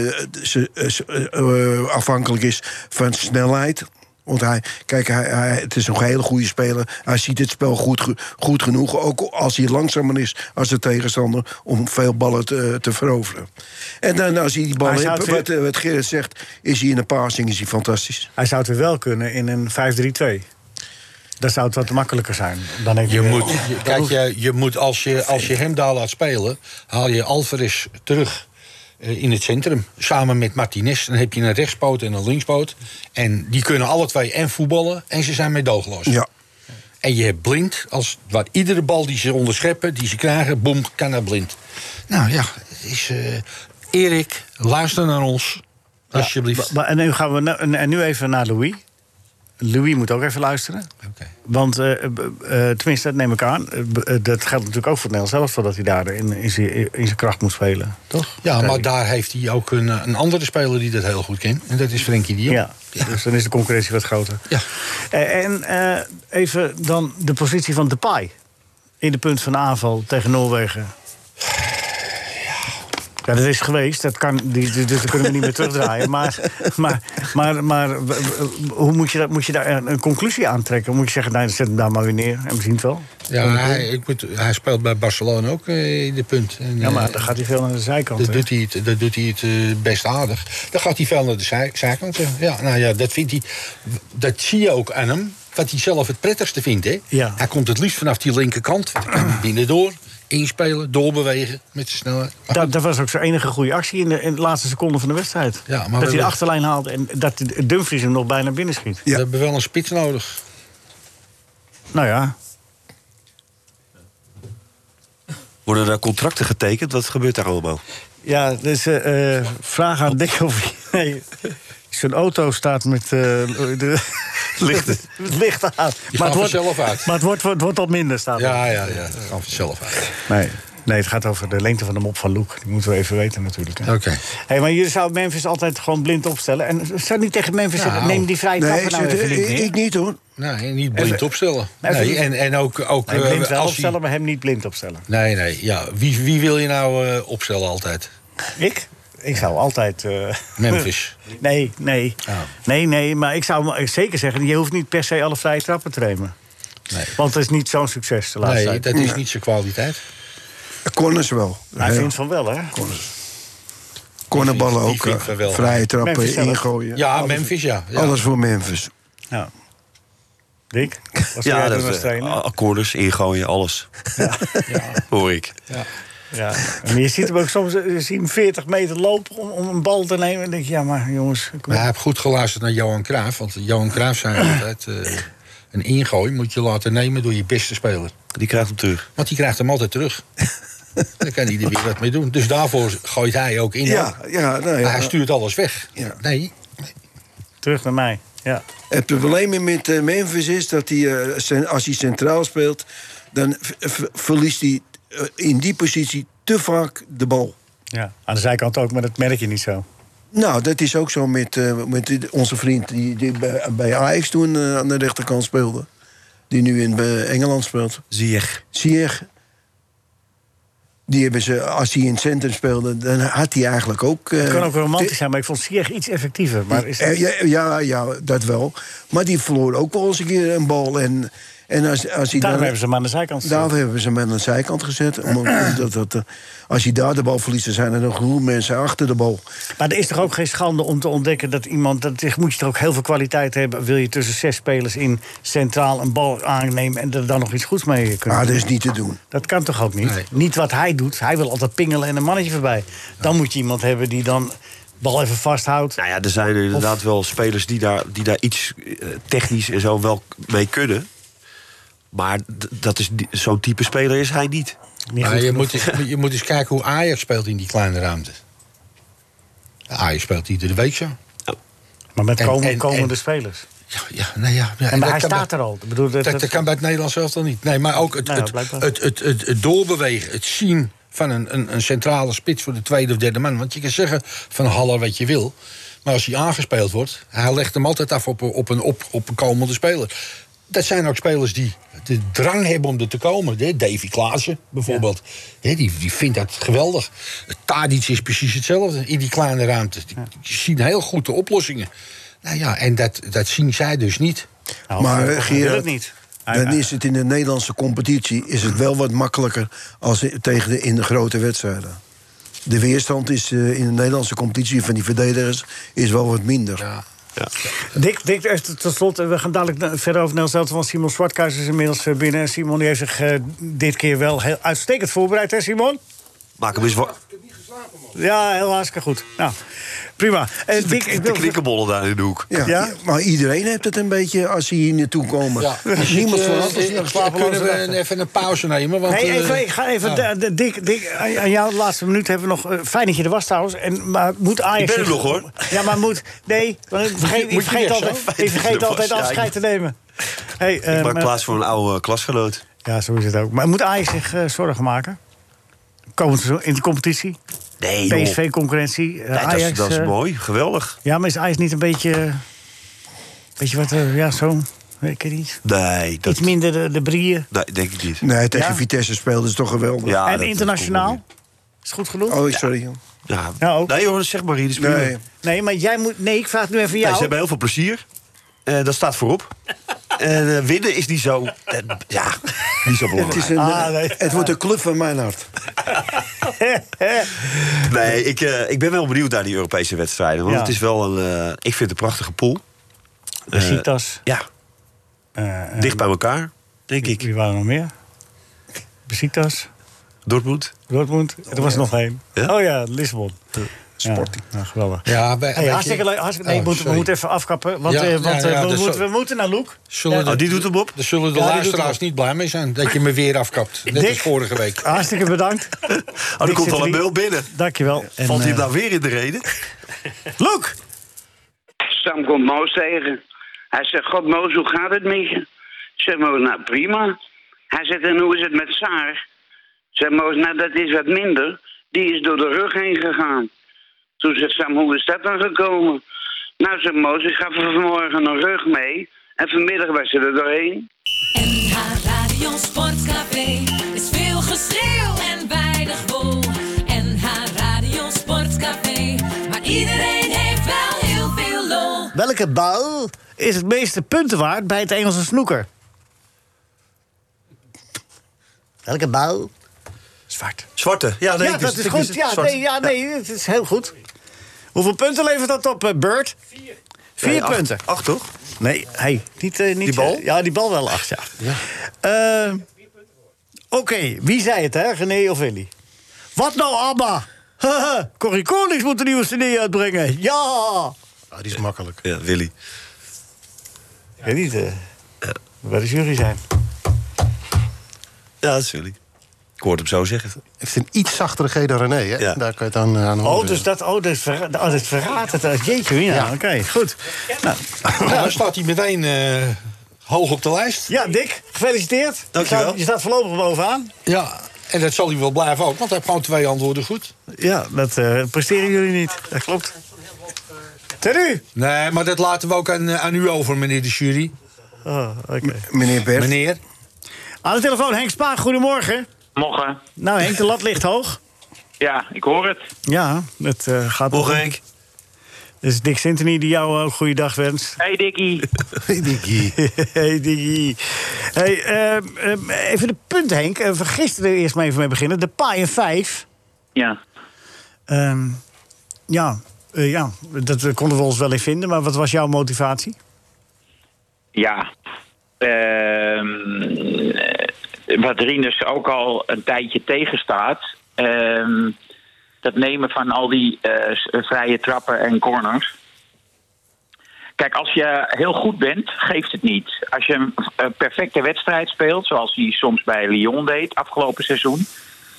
ze- eh, ze- eh, eh, afhankelijk is van snelheid. Want hij, kijk, hij, hij- het is een hele goede speler. Hij ziet het spel goed, ge- goed genoeg. Ook als hij langzamer is als de tegenstander. om veel ballen te, te veroveren. En dan als hij die bal Maar zou heeft, het wat, eh, wat Gerrit zegt. is hij in de passing is hij fantastisch. Hij zou het weer wel kunnen in een 5-3-2. Dan zou het wat makkelijker zijn. Dan eh, heeft Je hij- moet, je- kijk, je, je moet als, je, als je hem daar laat spelen, haal je Alvarez terug eh, in het centrum. Samen met Martinez. Dan heb je een rechtspoot en een linkspoot. En die kunnen alle twee en voetballen en ze zijn meedogenloos. Ja. En je hebt blind, als, waar iedere bal die ze onderscheppen, die ze krijgen, boem, kan naar blind. Nou ja, is, eh, Erik, luister naar ons. Alsjeblieft. Maar- En nu, gaan we na- en nu even naar Louis. Louis moet ook even luisteren. Oké. Want, eh, eh, eh, tenminste, dat neem ik aan. Eh, b- eh, dat geldt natuurlijk ook voor Nel zelf, dat hij daar in, in, zijn, in zijn kracht moet spelen. Toch? Ja, maar daar heeft hij ook een, eh, een andere speler die dat heel goed kent. En dat is Frenkie de Jong. Ja, dus dan is de concurrentie wat groter. Ja. Eh, en eh, even dan de positie van Depay. In de punt van aanval tegen Noorwegen. Ja, dat is geweest. Dat kan, die, die- dus dat kunnen we niet meer terugdraaien. Maar, maar, maar, maar w- w- hoe moet je, dat, moet je daar een, een conclusie aan trekken? Moet je zeggen, nee, zet hem daar maar weer neer en we zien het wel. Ja, maar hij, ik moet, hij speelt bij Barcelona ook eh, in de punt. En, Ja, maar eh, dan gaat hij veel naar de zijkant. dat hè? doet hij het, dat doet hij het eh, best aardig. Dan gaat hij veel naar de zij, zijkant. eh. Ja, nou ja, dat, vindt hij, dat zie je ook aan hem. Wat hij zelf het prettigste vindt. Hè? Ja. Hij komt het liefst vanaf die linkerkant. want dan kan hij Binnendoor, inspelen, doorbewegen met zijn snelheid. Maar Dat, dat was ook zijn enige goede actie in de, in de laatste seconde van de wedstrijd. Ja, maar we dat hij de hebben- achterlijn haalt en dat de- Dumfries hem nog bijna binnen schiet. We hebben wel een spits nodig. Nou ja, Worden daar contracten getekend? Wat gebeurt daar allemaal? ja dus eh, eh, vraag aan Dick of hij... Nee, zijn auto staat met eh, de, Licht. het licht aan. gaat vanzelf uit. Maar het wordt, het wordt al minder, staat er. Ja, ja, ja. Dat gaan we zelf uit. Nee. nee, het gaat over de lengte van de mop van Loek. Die moeten we even weten natuurlijk. hè. Oké. Hey, maar jullie zouden Memphis altijd gewoon blind opstellen. En zou niet tegen Memphis Nou. zeggen, neem die vrije Nee, trappen nou zit- even ik, niet neer? ik niet hoor. Nee, niet blind opstellen. Even Nee, niet- en, en ook... ook Nee, eh, blind wel als opstellen, hij- maar hem niet blind opstellen. Nee, nee. Ja. Wie, wie wil je nou eh, opstellen altijd? Ik? Ik zou altijd... eh, Memphis. nee, nee. Ah. Nee, nee, maar ik zou hem zeker zeggen... je hoeft niet per se alle vrije trappen te nemen. Nee. Want het is niet zo'n succes de laatste Nee, tijd. dat is niet zijn kwaliteit. Corners dus wel. Hij Ja. vinkt van wel, hè? Cornerballen Die ook. vindt eh, van wel. vrije trappen Memphis zelf. ingooien. Ja, Memphis, ja. Oh, ja. Alles voor Memphis. Ja. Dick, wat zou jij doen als eh, trainer? akkoorders, ingooien, alles. Hoor ik. Ja. Maar je ziet hem ook soms eh, je ziet hem 40 meter lopen om, om een bal te nemen. En denk je, ja, maar jongens... Kom Maar op. hij heeft goed geluisterd naar Johan Cruijff. Want Johan Cruijff zei altijd... eh, een ingooi moet je laten nemen door je beste speler. Die krijgt hem terug. Want die krijgt hem altijd terug. Daar kan hij er weer wat mee doen. Dus daarvoor gooit hij ook in. Ja, ja, nou Maar hij ja. stuurt alles weg. Ja. Nee, Terug naar mij. Ja. Het probleem met eh, Memphis is dat hij, eh, cen- als hij centraal speelt, dan v- v- verliest hij eh, in die positie te vaak de bal. Ja. Eh, Aan de zijkant ook, maar dat merk je niet zo. Nou, dat is ook zo met, eh, met die- onze vriend die, die bij, bij Ajax toen eh, aan de rechterkant speelde. Die nu in eh, Engeland speelt. Zie je. Ziyech. Die hebben ze, als hij in het centrum speelde, dan had hij eigenlijk ook... eh, Het kan ook romantisch te- zijn, maar ik vond Sieg iets effectiever. Maar is Eh, Ja, ja, ja, dat wel. Maar die verloor ook wel eens een keer een bal. En, en als, als hij Daarom dan, hebben ze hem aan de zijkant daar staan. hebben ze hem aan de zijkant gezet. Omdat dat, dat, eh, als hij daar de bal verliest, dan zijn er nog genoeg mensen achter de bal. Maar er is toch ook geen schande om te ontdekken dat iemand... Dat, is- moet je toch ook heel veel kwaliteit hebben... wil je tussen zes spelers in centraal een bal aannemen... en er dan nog iets goeds mee kunnen Maar dat doen. is niet te doen. Dat kan toch ook niet? Nee. Niet wat hij doet. Hij wil altijd pingelen en een mannetje voorbij. Dan moet je iemand hebben die dan bal even vasthoudt. Nou ja, er zijn er inderdaad wel spelers die daar, die daar iets eh, technisch en zo wel mee kunnen. Maar d- dat is, ni- zo'n type speler is hij niet. Niet Maar goed je, genoeg. moet eens, je moet eens kijken hoe Ajax speelt in die kleine ruimte. Ajax speelt iedere week zo. Maar met En- komen- en- komende en- spelers. Ja, ja, nou ja, ja, En dat maar hij kan staat bij- er al. Ik bedoel, dat, Dat, dat kan bij het Nederlands zelf dan niet. Nee, maar ook het, Nou ja, het, blijkbaar. het, het, het, het doorbewegen, het zien van een, een, een centrale spits voor de tweede of derde man. Want je kan zeggen van Haller wat je wil. Maar als hij aangespeeld wordt, hij legt hem altijd af op, op, een, op, op een komende speler. Dat zijn ook spelers die de drang hebben om er te komen. hè. Davy Klaassen bijvoorbeeld. hè, Die, die vindt dat geweldig. Tadic is precies hetzelfde in die kleine ruimte. Die, die zien heel goed de oplossingen. Nou ja, en dat, dat zien zij dus niet. Nou, Maar eh, wil Gerard, het niet. Hij- dan is het in de Nederlandse competitie is het wel wat makkelijker als i- tegen de, in de grote wedstrijden. De weerstand is eh, in de Nederlandse competitie van die verdedigers is wel wat minder. Dick, Dick eh, t- tot slot, eh, we gaan dadelijk na- verder over Nels Zelten... want Simon Zwartkuis is inmiddels eh, binnen. En Simon die heeft zich eh, dit keer wel heel uitstekend voorbereid, hè Simon? Maak hem eens wat. Ja, heel hartstikke goed. Nou, prima. Eh, Dick, ik De wil... knikkenbollen daar in de hoek. Ja, Ja? i- maar iedereen heeft het een beetje als ze hier naartoe komen. Ja. Niemand Eh, van ons is eh, nog Kunnen slapeloos. we een- even een pauze nemen? Want, Nee, eh, even, ik ga even. ja. de- de- Dick, Dick, aan aan jou de laatste minuut hebben we nog. eh, fijn dat je er was trouwens. En, maar moet Ajax. Ik ben er zich- nog, hoor. Ja, maar moet. Nee, want ik vergeet, ik je vergeet weg, altijd, zo? ik Fijn dat je vergeet er altijd was, ja, afscheid te nemen. Hey, Ik eh, maak maar- plaats voor een oude klasgenoot. Ja, zo is het ook. Maar moet Ajax zich eh, zorgen maken? Komend seizoen in de competitie? Nee, joh. PSV-concurrentie? Nee, dat, Ajax, is, dat is eh, mooi, geweldig. Ja, maar is Ajax niet een beetje. eh, weet je wat, eh, ja, zo. Weet ik het niet. Nee, dat Iets minder de, de brieën. nee, denk ik niet. Nee, tegen Ja. Vitesse speelden ze toch geweldig. Ja, dat- en dat komt internationaal? wel Is goed genoeg? Oh, sorry. weer. Ja. Ja, ook. Nee hoor, zeg maar dus- hier. Nee. Nee. Nee, Nee, maar jij moet. Nee, ik vraag het nu even jou. ze hebben heel veel plezier. Eh, dat staat voorop. en eh, winnen is niet zo... eh, ja, niet zo Het, belangrijk. is een, Ah, nee. het wordt een club van mijn hart. Nee, ik, eh, ik ben wel benieuwd naar die Europese wedstrijden. Want Ja. het is wel een... eh, ik vind het een prachtige pool. Besiktas. Ja, eh, eh, dicht bij elkaar, denk ik. Wie waren er nog meer? Besiktas, Dortmund. Dortmund. er was nog één. Ja? Oh ja, Lissabon. Sporting. Ja, nou, geweldig. Ja, we- weet Hey, je- hartstikke leuk. Hartstikke, nee, Oh, we moeten- we sorry. moeten even afkappen. Want, Ja, eh, want ja, eh, ja, we, dus moeten, zo- we moeten naar Loek. Zullen Oh, de, die doet hem op. daar zullen de Ja, die doet luisteraars hem. niet blij mee zijn dat je me weer afkapt. Net Dick. als vorige week. Hartstikke bedankt. Oh, er Dick komt zit al een hier. mail binnen. Dankjewel. En, Valt hij hem eh, nou weer in de reden? Loek! Sam komt Moos tegen. Hij zegt, god Moos, hoe gaat het met je? Ik Zeg Moos, nou prima. Hij zegt, en hoe is het met Saar? Zeg Moos, nou dat is wat minder. Die is door de rug heen gegaan. Toen zegt Sam, hoe is dat dan gekomen? Nou, zegt Moos, ik gaf er vanmorgen een rug mee. En vanmiddag was ze er doorheen. NH Radio Sportcafé is veel geschreeuw en weinig wol. NH Radio Sportcafé, maar iedereen heeft wel heel veel lol. Welke bal is het meeste punten waard bij het Engelse snoeker? Welke bal? Zwart. Zwarte. Ja, nee, ja, dus- dat is ik- goed. Ja, zwart. nee, ja, nee, het is heel goed. Hoeveel punten levert dat op, eh, Bert? Vier. Vier Nee, acht- punten. Acht, toch? Nee, hey, niet, eh, niet... Die bal? eh, ja, die bal wel acht, ja. Eh, Oké, wie zei het, hè? René of Willy? Wat nou, Abba? Haha, Corrie Konings moet een nieuwe CD uitbrengen. Ja! Ah, die is makkelijk. Ja, Willy. Ik weet niet eh, waar de jury zijn. Ja, dat is Willy. Ik hoorde hem zo zeggen. Heeft een iets zachtere G dan René, hè? Ja. Daar kan je het aan, aan Oh, horen. dus dat, oh, dus verra oh, dat verraadt het. als- Jeetje, mina. Oké, goed. Nou, Nou, dan staat hij meteen eh, hoog op de lijst. ja, Dick, gefeliciteerd. Dankjewel. Je staat, je staat voorlopig bovenaan. Ja, en dat zal hij wel blijven ook, want hij heeft gewoon twee antwoorden goed. Ja, dat eh, presteren jullie niet. Dat klopt. Ten u. Nee, maar dat laten we ook aan, eh, aan u over, meneer de jury. Oh, oké. Meneer Bert, Meneer. Aan de telefoon, Henk Spaak, goedemorgen. Morgen. Nou, Henk, de lat ligt hoog. Ja, ik hoor het. Ja, het eh, gaat nog. Morgen, Henk. Dus Dick Sintony die jou ook een goede dag wenst. Hey Dikkie. hey, Diggy. Hey, ehm, ehm, even de punt, Henk. Eh, we gisteren eerst maar even mee beginnen. De paai en vijf. Ja. Ehm, ja, eh, ja, dat eh, konden we ons wel in vinden. Maar wat was jouw motivatie? Ja. Ehm, eh, wat Rinus ook al een tijdje tegenstaat. ehm, dat nemen van al die eh, s- vrije trappen en corners. Kijk, als je heel goed bent, geeft het niet. Als je een een perfecte wedstrijd speelt, zoals hij soms bij Lyon deed afgelopen seizoen,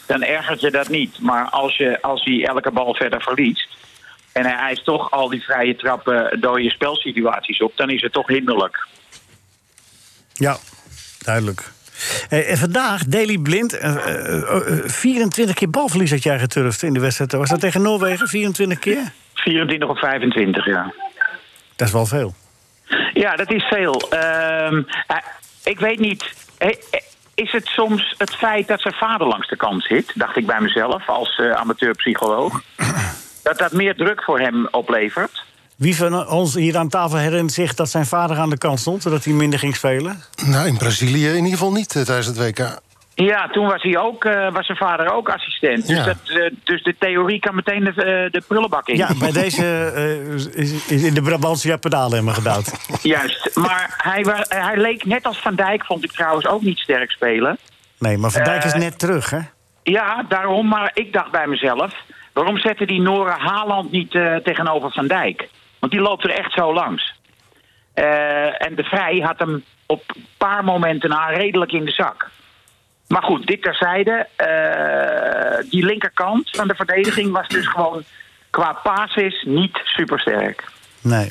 dan ergert je dat niet. Maar als, je, als hij elke bal verder verliest en hij eist toch al die vrije trappen dode spelsituaties op, dan is het toch hinderlijk. Ja, duidelijk. Eh, en vandaag, Daley Blind, eh, eh, eh, 24 keer balverlies had jij geturfd in de wedstrijd. Was dat tegen Noorwegen, 24 keer? 24 of 25, ja. Dat is wel veel. Ja, dat is veel. Ehm, eh, ik weet niet. eh, eh, Is het soms het feit dat zijn vader langs de kant zit? Dacht ik bij mezelf als eh, amateurpsycholoog. Dat dat meer druk voor hem oplevert. Wie van ons hier aan tafel herinnert zich dat zijn vader aan de kant stond... zodat hij minder ging spelen? Nou, in Brazilië in ieder geval niet eh, tijdens het WK. Ja, toen was, hij ook, eh, was zijn vader ook assistent. Dus, Ja. dat, eh, dus de theorie kan meteen de, eh, de prullenbak in. Ja, bij deze eh, is, is in de Brabantse ja, pedalen hebben gedouwd. Juist. Maar hij, wa- hij leek net als Van Dijk, vond ik trouwens ook niet sterk spelen. Nee, maar Van Dijk is Eh, net terug, hè? Ja, daarom. Maar ik dacht bij mezelf... waarom zetten die Noren Haaland niet eh, tegenover Van Dijk? Want die loopt er echt zo langs. Eh, en de Vrij had hem op een paar momenten na redelijk in de zak. Maar goed, dit terzijde. eh, die linkerkant van de verdediging was dus gewoon... qua basis niet supersterk. Nee.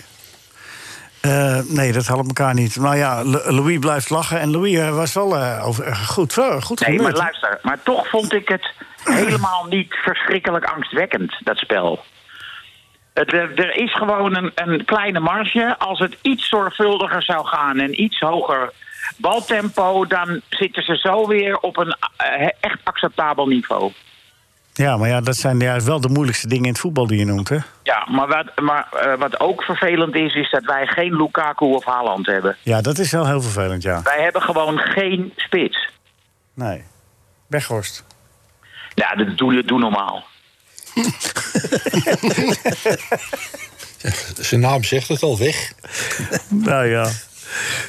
Eh, nee, dat hadden elkaar niet. Nou ja, L- Louis blijft lachen. En Louis eh, was wel eh, over, eh, goed, eh, goed Nee, gemuurd, maar hè? luister. Maar toch vond ik het helemaal niet verschrikkelijk angstwekkend, dat spel. Het, eh, er is gewoon een, een kleine marge. Als het iets zorgvuldiger zou gaan en iets hoger baltempo... dan zitten ze zo weer op een eh, echt acceptabel niveau. Ja, maar ja, dat zijn juist wel de moeilijkste dingen in het voetbal die je noemt, hè? Ja, maar wat, maar, eh, wat ook vervelend is, is dat wij geen Lukaku of Haaland hebben. Ja, dat is wel heel vervelend, ja. Wij hebben gewoon geen spits. Nee. Weghorst. Ja, dat doe, doe normaal. Zijn naam zegt het al, weg. Nou ja.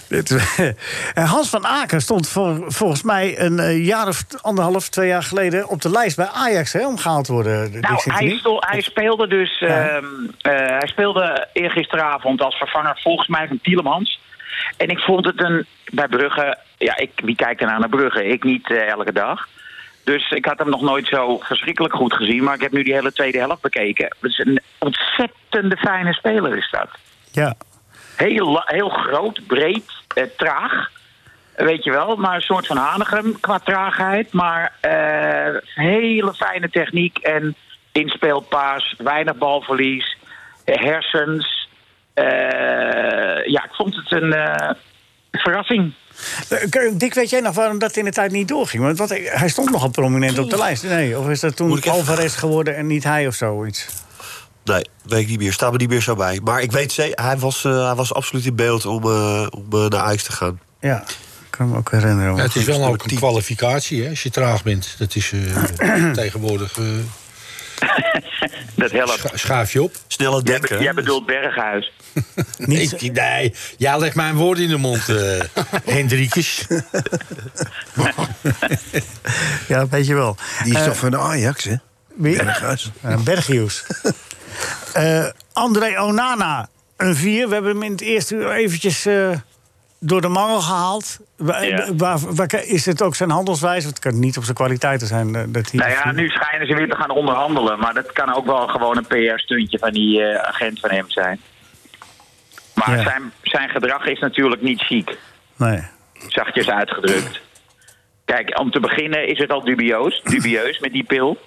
Dit- En Eh, Hans van Aken stond voor, volgens mij een eh, jaar of t- anderhalf, twee jaar geleden... op de lijst bij Ajax, hè, om gehaald te worden. Nou, Dick Sintony. hij, stol- hij speelde dus. ehm, eh, hij speelde eergisteravond als vervanger volgens mij van Tielemans. En ik vond het een. Bij Brugge. Ja, ik, wie kijkt er nou naar Brugge? Ik niet eh, elke dag. Dus ik had hem nog nooit zo verschrikkelijk goed gezien. Maar ik heb nu die hele tweede helft bekeken. Het is een ontzettende fijne speler, is dat. Ja. Heel, la- heel groot, breed, eh, traag. Weet je wel, maar een soort van Hanegem qua traagheid. Maar eh, hele fijne techniek en inspeelpaas, weinig balverlies, eh, hersens. Eh, ja, ik vond het een eh, verrassing. Eh, Keur, Dick, weet jij nog waarom dat in de tijd niet doorging? Want wat, hij stond nogal prominent op de lijst. Nee, of is dat toen Alvarez geworden en niet hij of zoiets? Nee, weet ik niet meer. Staat me niet meer zo bij. Maar ik weet zeker, hij was, eh, hij was absoluut in beeld om, eh, om eh, naar Ajax te gaan. Ja, ik kan me ook herinneren. het is wel ook een kwalificatie hè, als je traag bent. Dat is eh, tegenwoordig. eh, Dat helpt. scha- schaaf je op. Sneller Jij, denken. be- jij bedoelt Berghuis. Nee, ik- nee, jij legt mijn woord in de mond, eh Hendrikjes. Ja, weet je wel. Die is Eh, toch van de Ajax, hè? Wie? Berghuis. Eh, Bergius. Eh, André Onana, een vier. We hebben hem in het eerste uur eventjes eh, door de mangel gehaald. Wa- Ja. waar- waar- is het ook zijn handelswijze? Het kan niet op zijn kwaliteiten zijn. eh, dat hij Nou ja, nu schijnen ze weer te gaan onderhandelen. Maar dat kan ook wel gewoon een PR-stuntje van die eh, agent van hem zijn. Maar Ja. zijn, zijn gedrag is natuurlijk niet chic. Nee. zachtjes uitgedrukt. Kijk, om te beginnen is het al dubieus, dubieus met die pil.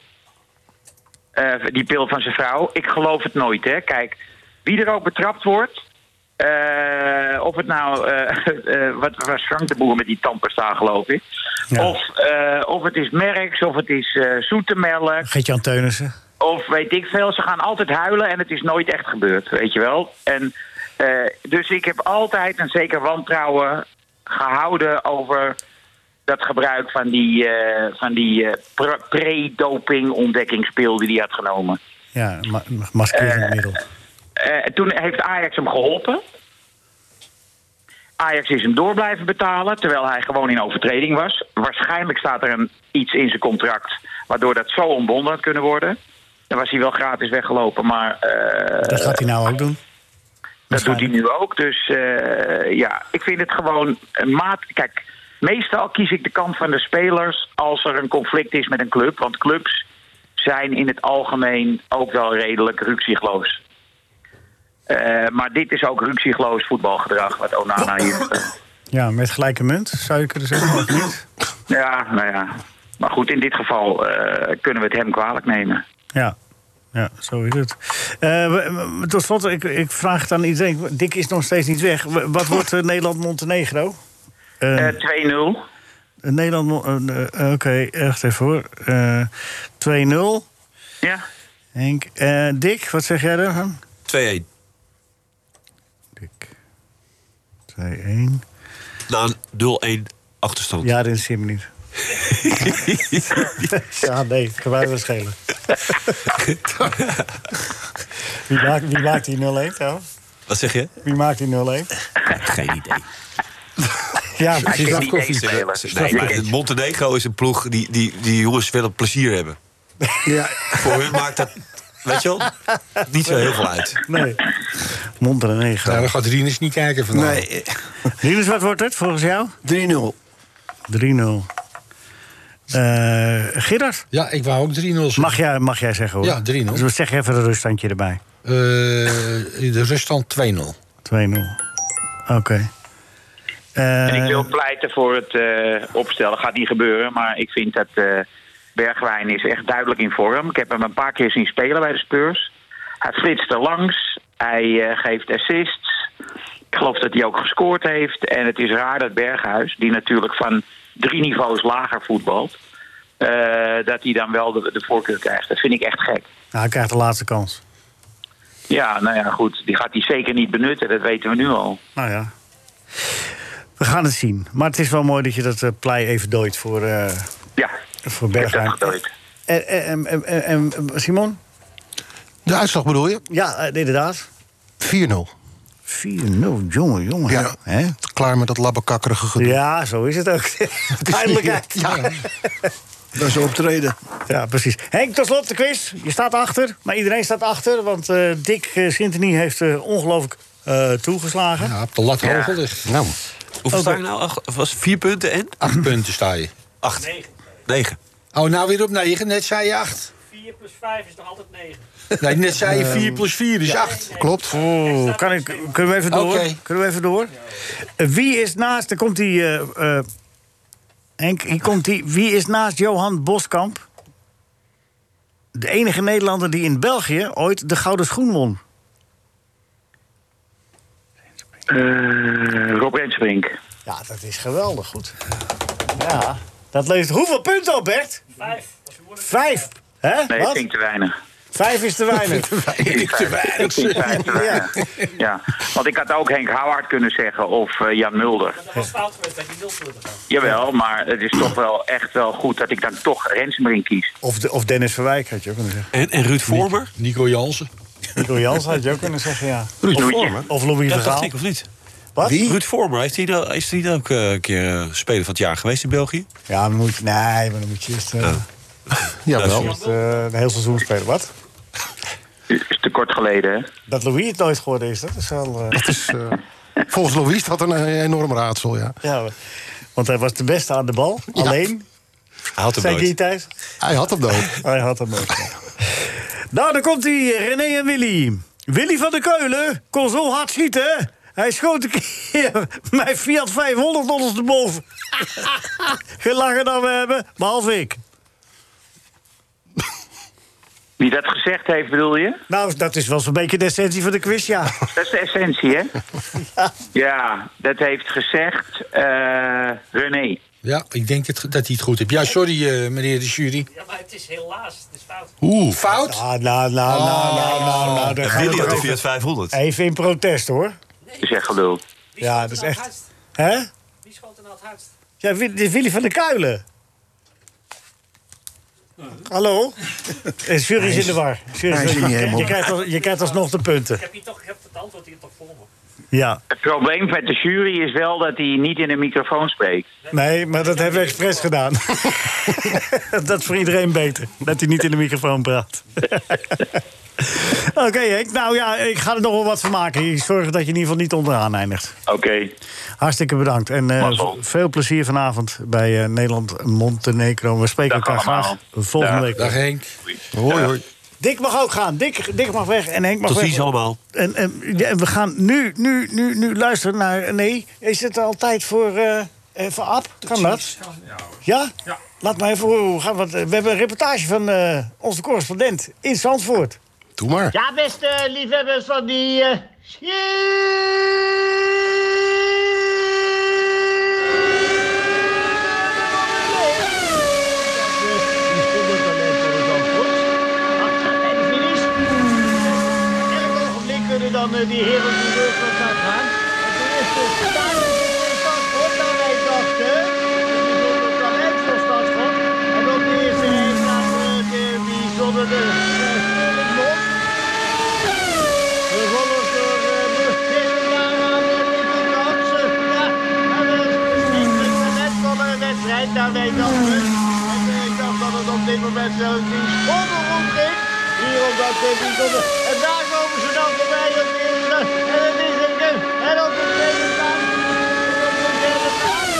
Eh, die pil van zijn vrouw. Ik geloof het nooit, hè. Kijk, wie er ook betrapt wordt... eh, of het nou... eh, eh, wat was Frank de Boer met die tandpasta, geloof ik. Ja. Of, eh, of het is Merks, of het is eh zoetemelk... Geert-Jan Teunissen. Of weet ik veel, ze gaan altijd huilen en het is nooit echt gebeurd, weet je wel. En, eh, dus ik heb altijd een zeker wantrouwen gehouden over dat gebruik van die, eh, van die eh, pre- pre-doping ontdekkingspil die hij had genomen. Ja, ma maskerend middel. Eh, toen heeft Ajax hem geholpen. Ajax is hem door blijven betalen, terwijl hij gewoon in overtreding was. Waarschijnlijk staat er een, iets in zijn contract waardoor dat zo ontbonden had kunnen worden. Dan was hij wel gratis weggelopen, maar eh, Dat gaat hij nou ook doen. dat doet hij nu ook. Dus eh, ja, ik vind het gewoon een maat. Kijk, meestal kies ik de kant van de spelers als er een conflict is met een club. Want clubs zijn in het algemeen ook wel redelijk ruksigloos. Eh, maar dit is ook ruksigloos voetbalgedrag, wat Onana hier. Ja, met gelijke munt, zou je kunnen zeggen, of niet? Ja, nou ja. Maar goed, in dit geval eh, kunnen we het hem kwalijk nemen. Ja. Ja, zo is het. Eh, we- we- tot slot, ik, ik vraag het aan iedereen. Dick is nog steeds niet weg. W- Wat wordt eh, Nederland-Montenegro? Eh, Eh, 2-0. Eh, Nederland, mo- eh, eh, oké, echt even hoor. Eh, 2-0. Ja. Henk. Eh, Dick, wat zeg jij daarvan? 2-1. 2-1. Na een 0-1 achterstand. Ja, dat is hem niet. ja, nee, kan mij wel schelen. wie, maakt, wie maakt die 0-1 trouwens? Wat zeg je? Wie maakt die 0-1? Geen idee. Ja, precies. Nee, maar Montenegro is een ploeg die, die, die jongens willen plezier hebben. Ja. Voor hun maakt dat, weet je wel, niet zo heel veel uit. Nee. Montenegro. Nou, dan gaat Rinus niet kijken vandaag. Nee. Rinus, wat wordt het volgens jou? 3-0. 3-0. Eh Gerard, Ja, ik wou ook 3-0 zeggen. mag jij, mag jij zeggen hoor. Ja, 3-0. Dus zeg even een ruststandje erbij. Eh, de ruststand 2-0. 2-0. Oké. Eh, En ik wil pleiten voor het eh, opstellen. Gaat niet gebeuren, maar ik vind dat eh, Bergwijn is echt duidelijk in vorm. Ik heb hem een paar keer zien spelen bij de Spurs. Hij flitst er langs, hij eh, geeft assists. Ik geloof dat hij ook gescoord heeft. En het is raar dat Berghuis, die natuurlijk van drie niveaus lager voetbalt... eh, dat hij dan wel de, de voorkeur krijgt. Dat vind ik echt gek. nou, hij krijgt de laatste kans. Ja, nou ja, goed. Die gaat hij zeker niet benutten, dat weten we nu al. Nou ja. We gaan het zien. Maar het is wel mooi dat je dat eh, plei even dooit voor, eh Ja, voor ik heb dat Bergwijn. gedooid. En, en, en, en- en- Simon? De uitslag bedoel je? Ja, eh, inderdaad. 4-0. 4-0, jongen, jongen. Ja. Hè? Klaar met dat labbekakkerige gedoe. Ja, zo is het ook. Eindelijk uit. Ja. Dat is optreden. Ja, precies. Henk, tot slot de quiz. Je staat achter, maar iedereen staat achter. Want eh Dick eh, Sintony heeft eh, ongelooflijk eh, toegeslagen. Ja, op de lat hoog ligt. Nou, Hoeveel sta je nou? Ach, was het vier punten en? Acht punten sta je. Acht. Negen. Oh, nou weer op 9. Net zei je 8. 4 plus 5 is nog altijd 9. Nee, net zei je 4 plus 4 is 8. klopt. Oeh, kan ik, kunnen we even door? Oké. Kunnen we even door? Eh, Wie is naast, er komt die, eh, eh, Henk, hier komt die. Wie is naast Johan Boskamp? De enige Nederlander die in België ooit de gouden schoen won. Eh, Rob Rensbrink. Ja, dat is geweldig goed. Ja, dat leest hoeveel punten op, Bert? Vijf. Dat is moeilijk. Vijf. Hè? Nee, Wat? ik vind ik te weinig. Vijf is te weinig. Ik vind vijf. Ik vind vijf te weinig. Ja, want ik had ook Henk Howard kunnen zeggen of eh, Jan Mulder. Dat was fout geweest dat je 0 punten gaat. Jawel, maar het is toch wel echt wel goed dat ik dan toch Rensbrink kies. Of, de, of Dennis Verwijk had je ook kunnen zeggen. En, en Ruud Vormer? Nico Jansen. Nico Jans had je ook kunnen zeggen, ja. Ruud Doe je. Of Louis Dat dacht Vergaal. ik, of niet? Wat? Wie? Ruud Vormer, heeft hij dan, is hij dan ook eh, een keer eh, speler van het jaar geweest in België? Ja, dan moet je, nee, maar dan moet je eerst, eh, Jawel. eerst, eh, een heel seizoen spelen. Wat? Is te kort geleden, hè? Dat Louis het nooit geworden is, dat is wel... eh, Het is, eh, volgens Louis dat een eh, enorm raadsel, ja. ja, want hij was de beste aan de bal. Alleen, Hij had hem zei ik nooit. niet thuis. Hij had hem dood. Hij had hem ook. nou, dan komt hij, René en Willy. Willy van der Keulen kon zo hard schieten. Hij schoot een keer mijn Fiat 500 ondersteboven. Gelachen dan we hebben, behalve ik. Wie dat gezegd heeft, bedoel je? Nou, dat is wel zo'n beetje de essentie van de quiz, ja. Dat is de essentie, hè? Ja, dat heeft gezegd eh, René. Ja, ik denk het, dat hij het goed heeft. Ja, sorry eh, meneer de jury. Ja, maar het is helaas. Het is fout. Oeh. Fout? Ah, nou, nou, Oh. nou, nou, nou, nou. daar En gaan we Willy had toch de even- Fiat 500. Even in protest, hoor. Dat is echt gelul. Wie Ja, schoot dat er is nou het echt- hardst? Hè? Wie schoot er nou het hardst? Ja, Wi- dit is Willy van der Kuilen. Hallo? De jury is in de war. De jury is hij is in er de war. niet helemaal. Je krijgt, als, je krijgt alsnog de punten. Ik heb hier toch ik heb het antwoord hier toch voor me. Ja. Het probleem met de jury is wel dat hij niet in een microfoon spreekt. Nee, maar dat hebben we expres gedaan. dat is voor iedereen beter. Dat hij niet in de microfoon praat. Oké, Henk. Nou ja, ik ga er nog wel wat van maken. Ik zorg dat je in ieder geval niet onderaan eindigt. Oké. Hartstikke bedankt. En eh, Mazzel. v- veel plezier vanavond bij eh, Nederland-Montenegro. We spreken Dag elkaar allemaal. graag volgende Dag. week. Dag Henk. Hoi, hoi. Dick mag ook gaan. Dick, Dick mag weg en Henk mag Tot weg. ziens allemaal. En, en, ja, en we gaan nu, nu, nu, nu luisteren naar... Nee, is het altijd voor, eh eh, voor Ab? Kan dat? Ja? Laat maar even horen hoe we gaan. Want eh, we hebben een reportage van eh, onze correspondent in Zandvoort. Doe maar. Ja, beste liefhebbers van die. eh, Elk ogenblik kunnen dan eh, die heren die deur van elkaar gaan. En toen is de status in Zandvoort, daar wij dachten. En die zonder talent van Zandvoort. En op de eerste rij staat eh, de bijzondere eh, Mos. Gevolgd door eh, de Christendama en de Nederlandse. Ja, en we hebben net van een wedstrijd, daar wij dachten. En eh, ik dacht dat het op dit moment zelfs die schonder rondging. Hier op dat eh, bijzonder. En daar komen ze dan voorbij op de eerste. En het is een gun. En op de tweede plaats. En op de derde plaats.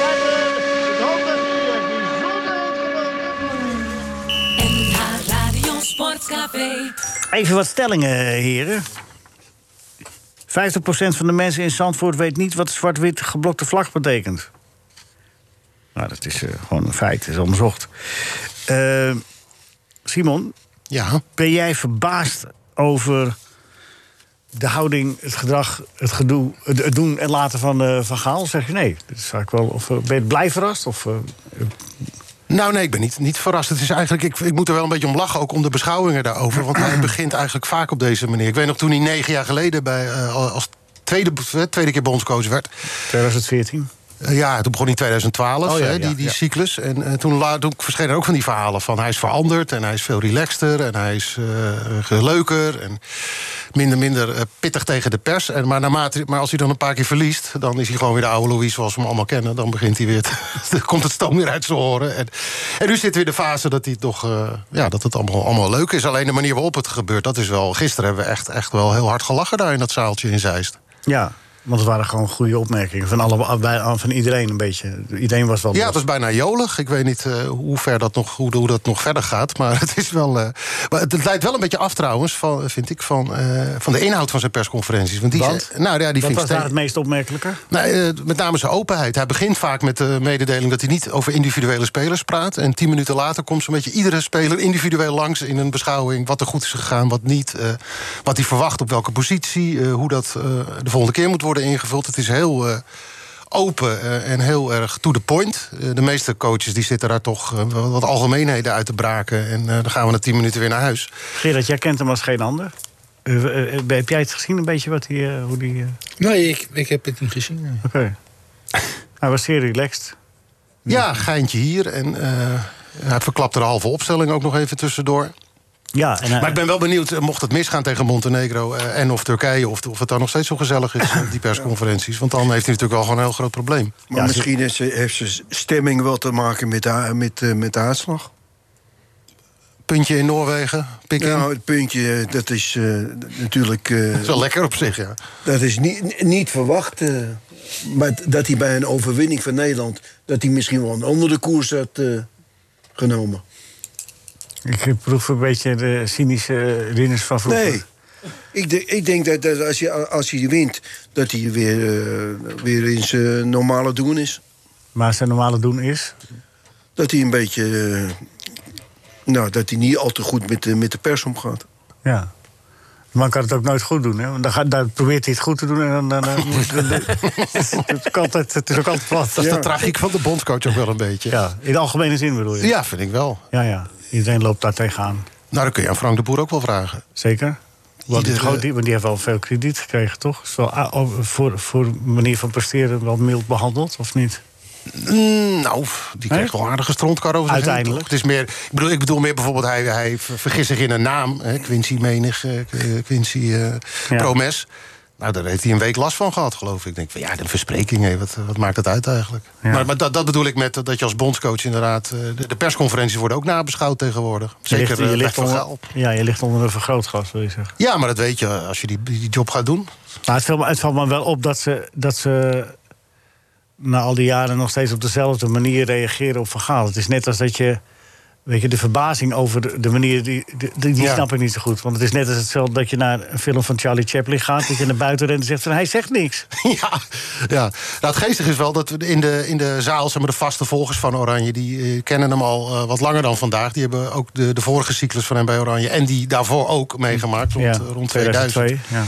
Ja, en eh, ik hoop dat u het bijzonder heeft genoten. NH Radio Sportcafé. Even wat stellingen, heren. 50% van de mensen in Zandvoort weet niet wat de zwart-wit geblokte vlag betekent. Nou, dat is eh, gewoon een feit, dat is onderzocht. Eh, Simon, ja? ben jij verbaasd over de houding, het gedrag, het gedoe, het, het doen en laten van, eh, van Gaal? Zeg je nee, dat is eigenlijk wel, of eh, ben je blij verrast? Of, eh, Nou nee, ik ben niet, niet verrast. Het is eigenlijk, ik, ik moet er wel een beetje om lachen, ook om de beschouwingen daarover. Want hij begint eigenlijk vaak op deze manier. Ik weet nog toen hij negen jaar geleden bij, eh, als tweede, eh, tweede keer bondscoach werd. Eh, 2014? ja, toen begon hij in 2012, Oh, ja, hè, ja, die, die ja. cyclus. En eh, toen, la- toen verschenen ook van die verhalen van hij is veranderd... en hij is veel relaxter en hij is eh, leuker en minder, minder eh, pittig tegen de pers. En, maar, naarmate, maar als hij dan een paar keer verliest, dan is hij gewoon weer de oude Louis zoals we hem allemaal kennen. Dan begint hij weer, te- dan komt het stoom weer uit zijn oren. En, en nu zit weer de fase dat hij toch, eh, ja, dat het allemaal, allemaal leuk is. Alleen de manier waarop het gebeurt, dat is wel... Gisteren hebben we echt, echt wel heel hard gelachen daar in dat zaaltje in Zeist. Ja, want het waren gewoon goede opmerkingen van, alle, bij- van iedereen een beetje. Iedereen was wel Ja, het was bijna jolig. Ik weet niet eh, hoe, ver dat nog, hoe, hoe dat nog verder gaat. Maar het, is wel, eh, maar het, het leidt wel een beetje af trouwens, van, vind ik, van, eh, van de inhoud van zijn persconferenties. Want die, Want? zei- nou, ja, die Wat vind ik was daar steeds- het meest opmerkelijke? nou, eh, met name zijn openheid. Hij begint vaak met de mededeling dat hij niet over individuele spelers praat. En tien minuten later komt zo'n beetje iedere speler individueel langs in een beschouwing. Wat er goed is gegaan, wat niet. eh, wat hij verwacht op welke positie. eh, hoe dat eh, de volgende keer moet worden ingevuld. Het is heel. eh, Open eh, en heel erg to the point. Eh, de meeste coaches die zitten daar toch eh, wel wat algemeenheden uit te braken. En eh, dan gaan we na tien minuten weer naar huis. Gerard, jij kent hem als geen ander. Eh, eh, eh, heb jij het gezien een beetje wat die, eh, hoe die... eh, Nee, ik, ik heb het niet gezien. nee. Oké. Hij was zeer relaxed. Ja, geintje hier. En eh hij verklapt er de halve opstelling ook nog even tussendoor. Ja, en, maar ik ben wel benieuwd, eh, mocht het misgaan tegen Montenegro eh, en of Turkije, of, of het daar nog steeds zo gezellig is, eh, die persconferenties. Want dan heeft hij natuurlijk wel gewoon een heel groot probleem. Maar misschien is, heeft zijn stemming wel te maken met, de- met, eh, met de uitslag. Puntje in Noorwegen, pikken. Nou, het puntje, eh, dat is eh, natuurlijk... eh, Dat is wel lekker op zich, ja. Dat is niet, niet verwacht. eh, maar t- dat hij bij een overwinning van Nederland... dat hij misschien wel een andere koers had eh, genomen. Ik proef een beetje de cynische ridders van vroeger. Nee. Ik, de- ik denk dat, dat als, je, als hij wint, dat hij weer, eh, weer in zijn normale doen is. Maar zijn normale doen is? Dat hij een beetje... eh, nou, dat hij niet al te goed met de, met de pers omgaat. Ja. De man kan het ook nooit goed doen. Hè? Want dan, gaat- dan probeert hij het goed te doen. En dan, dan, dan- dan- dan- het, is ook altijd, het is ook altijd plat. Dat is de tragiek van de bondscoach ook wel een beetje. Ja, in de algemene zin bedoel je? Ja, vind ik wel. Ja, ja. Iedereen loopt daar tegenaan. Nou, dan kun je aan Frank de Boer ook wel vragen. Zeker. Want die, Iedere- groot, die, want die heeft wel veel krediet gekregen, toch? Is wel, ah, oh, voor, voor manier van presteren wel mild behandeld, of niet? Mm, nou, die kreeg Hè? wel aardige strontkar over zich heen, Uiteindelijk. toch? Het is meer, ik, bedoel, ik bedoel meer bijvoorbeeld, hij, hij ver- vergist zich in een naam. Hè, Quincy Menig, eh, eh, Quincy eh, Promes. Nou, daar heeft hij een week last van gehad, geloof ik. Ik denk van, ja, de verspreking, hè, wat, wat maakt dat uit eigenlijk? Maar, maar dat, dat bedoel ik met eh, dat je als bondscoach inderdaad... eh, de, de persconferenties worden ook nabeschouwd tegenwoordig. Zeker je ligt, je eh, ligt bij Van onder, Gaal. Ja, je ligt onder een vergrootglas, wil je zeggen. Ja, maar dat weet je als je die, die job gaat doen. Maar het, viel me- het valt me wel op dat ze, dat ze na al die jaren nog steeds op dezelfde manier reageren op Van Gaal. Het is net als dat je Weet je, de verbazing over de, de manier, die, die, die Ja. snap ik niet zo goed. Want het is net als hetzelfde dat je naar een film van Charlie Chaplin gaat... dat je naar buiten rent en zegt van, hij zegt niks. ja, ja. Nou, het geestige is wel dat we in de, in de zaal, zeg maar, de vaste volgers van Oranje, die eh, kennen hem al eh, wat langer dan vandaag. Die hebben ook de, de vorige cyclus van hem bij Oranje en die daarvoor ook meegemaakt, rond, eh, Ja, rond 2000. 2002, ja.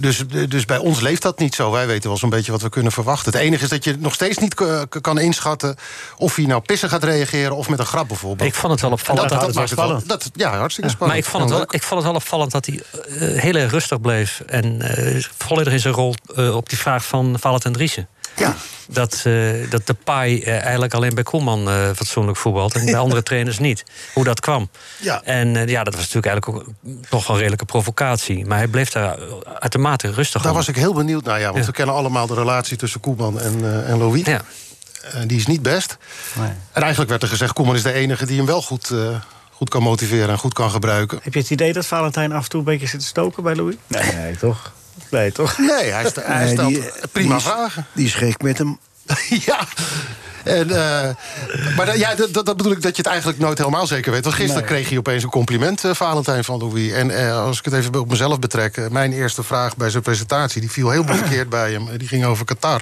Dus, dus bij ons leeft dat niet zo. Wij weten wel zo'n beetje wat we kunnen verwachten. Het enige is dat je nog steeds niet k- k- kan inschatten... of hij nou pissen gaat reageren of met een grap bijvoorbeeld. Ik vond het wel opvallend. En Dat, dat, Dat houdt maakt het het wel- wel- dat, ja, hartstikke Ja, spannend. Maar ik vond, het wel, ik vond het wel opvallend dat hij eh, heel erg rustig bleef. En eh, volledig in zijn rol eh, op die vraag van Valentin Driessen. Ja. Dat, eh dat de paai eh, eigenlijk alleen bij Koeman eh, fatsoenlijk voetbalt. En bij andere trainers niet. Hoe dat kwam. Ja. En eh, ja, dat was natuurlijk eigenlijk ook toch wel een redelijke provocatie. Maar hij bleef daar eh, uitermate rustig Daar om. was ik heel benieuwd naar, ja. Want Ja. we kennen allemaal de relatie tussen Koeman en, eh, en Louis. Ja. En die is niet best. En eigenlijk werd er gezegd, Koeman is de enige die hem wel goed, eh, goed kan motiveren... en goed kan gebruiken. Heb je het idee dat Valentijn af en toe een beetje zit te stoken bij Louis? Nee, nee toch? Nee, toch? Nee, hij, st- hij Nee, stelt die- prima die is- vragen. Die is gek met hem. ja. En, eh, maar da- ja, dat, dat dat bedoel ik dat je het eigenlijk nooit helemaal zeker weet. Want gisteren kreeg je opeens een compliment, eh, Valentijn van Louis. En eh, als ik het even op mezelf betrek... eh, mijn eerste vraag bij zijn presentatie... die viel heel verkeerd bij hem. Eh, Die ging over Qatar.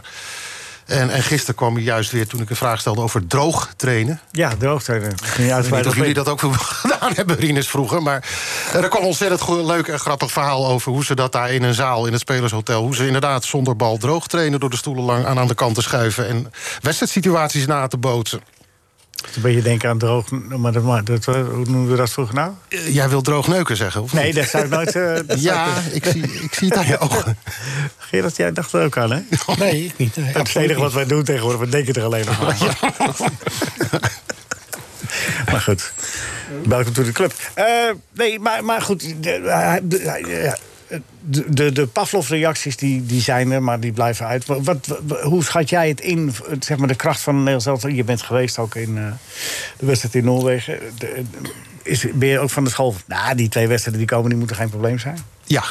En, en gisteren kwam hij juist weer toen ik een vraag stelde over droog trainen. Ja, droogtrainer. Ja, Ik weet niet of jullie dat ook gedaan hebben, Rinus, vroeger. Maar eh, er kwam een ontzettend goed, leuk en grappig verhaal over... hoe ze dat daar in een zaal, in het spelershotel... hoe ze inderdaad zonder bal droog trainen... door de stoelen lang aan, aan de kant te schuiven... en wedstrijdsituaties na te bootsen. Een beetje denken aan droog... Maar dat, maar dat, eh, hoe noemden we dat vroeger nou? Eh, Jij wil droog neuken zeggen, of Nee, niet? dat zou ik nooit... eh, dat Ja, zou ik- ik zie, ik zie het aan je ogen. Gerard, jij dacht er ook aan, hè? Nee, ik niet. eh, Nee, Dat is het enige wat wij doen tegenwoordig. We denken er alleen nog maar aan. Maar goed, welkom to the club. Eh, nee, maar, maar goed, de, hij- de- hij- ja, de, de, de Pavlov-reacties die, die zijn er, maar die blijven uit. Wat, wat- wat- hoe schat jij het in, het- zeg maar, de kracht van Nederland zelf? Je bent geweest ook in eh, de wedstrijd in Noorwegen. De- eh, is, ben je ook van de school van, nou, die twee wedstrijden die komen, die moeten geen probleem zijn? Ja,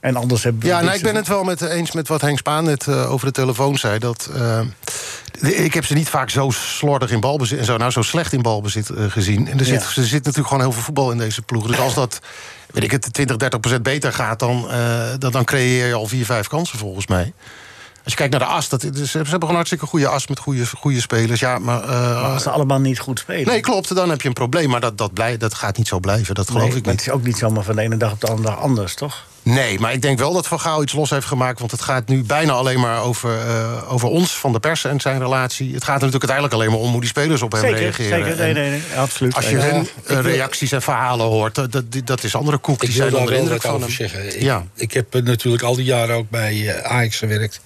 En anders hebben we ja dit nou, ik ben soort- het wel met, eens met wat Henk Spaan net eh, over de telefoon zei. Dat, eh, de- ik heb ze niet vaak zo slordig in balbezit en zo, nou, zo slecht in balbezit eh, gezien. En er zit, Ja. er zit natuurlijk gewoon heel veel voetbal in deze ploeg. Dus als dat, weet ik het, 20, 30 procent beter gaat, dan, eh, dan, dan creëer je al vier, vijf kansen volgens mij. Als je kijkt naar de as, dat, dus, ze hebben gewoon een hartstikke goede as met goede, goede spelers. Ja, maar, eh, Maar als ze allemaal niet goed spelen. nee, klopt, dan heb je een probleem. Maar dat, dat, blij, dat gaat niet zo blijven, dat geloof Nee, ik maar niet. Het is ook niet zomaar van de ene dag op de andere dag anders, toch? Nee, maar ik denk wel dat Van Gaal iets los heeft gemaakt. Want het gaat nu bijna alleen maar over, eh, over ons, van de pers en zijn relatie. Het gaat er natuurlijk uiteindelijk alleen maar om hoe die spelers op hem Zeker, reageren. zeker. Nee, En nee, nee, absoluut. Als je Ja. hun eh, reacties en verhalen hoort, dat, dat, dat is andere koek. Ik die wil zijn daar onder wel indruk wat van over hem. zeggen. Ik, Ja. ik heb eh, natuurlijk al die jaren ook bij eh, Ajax gewerkt.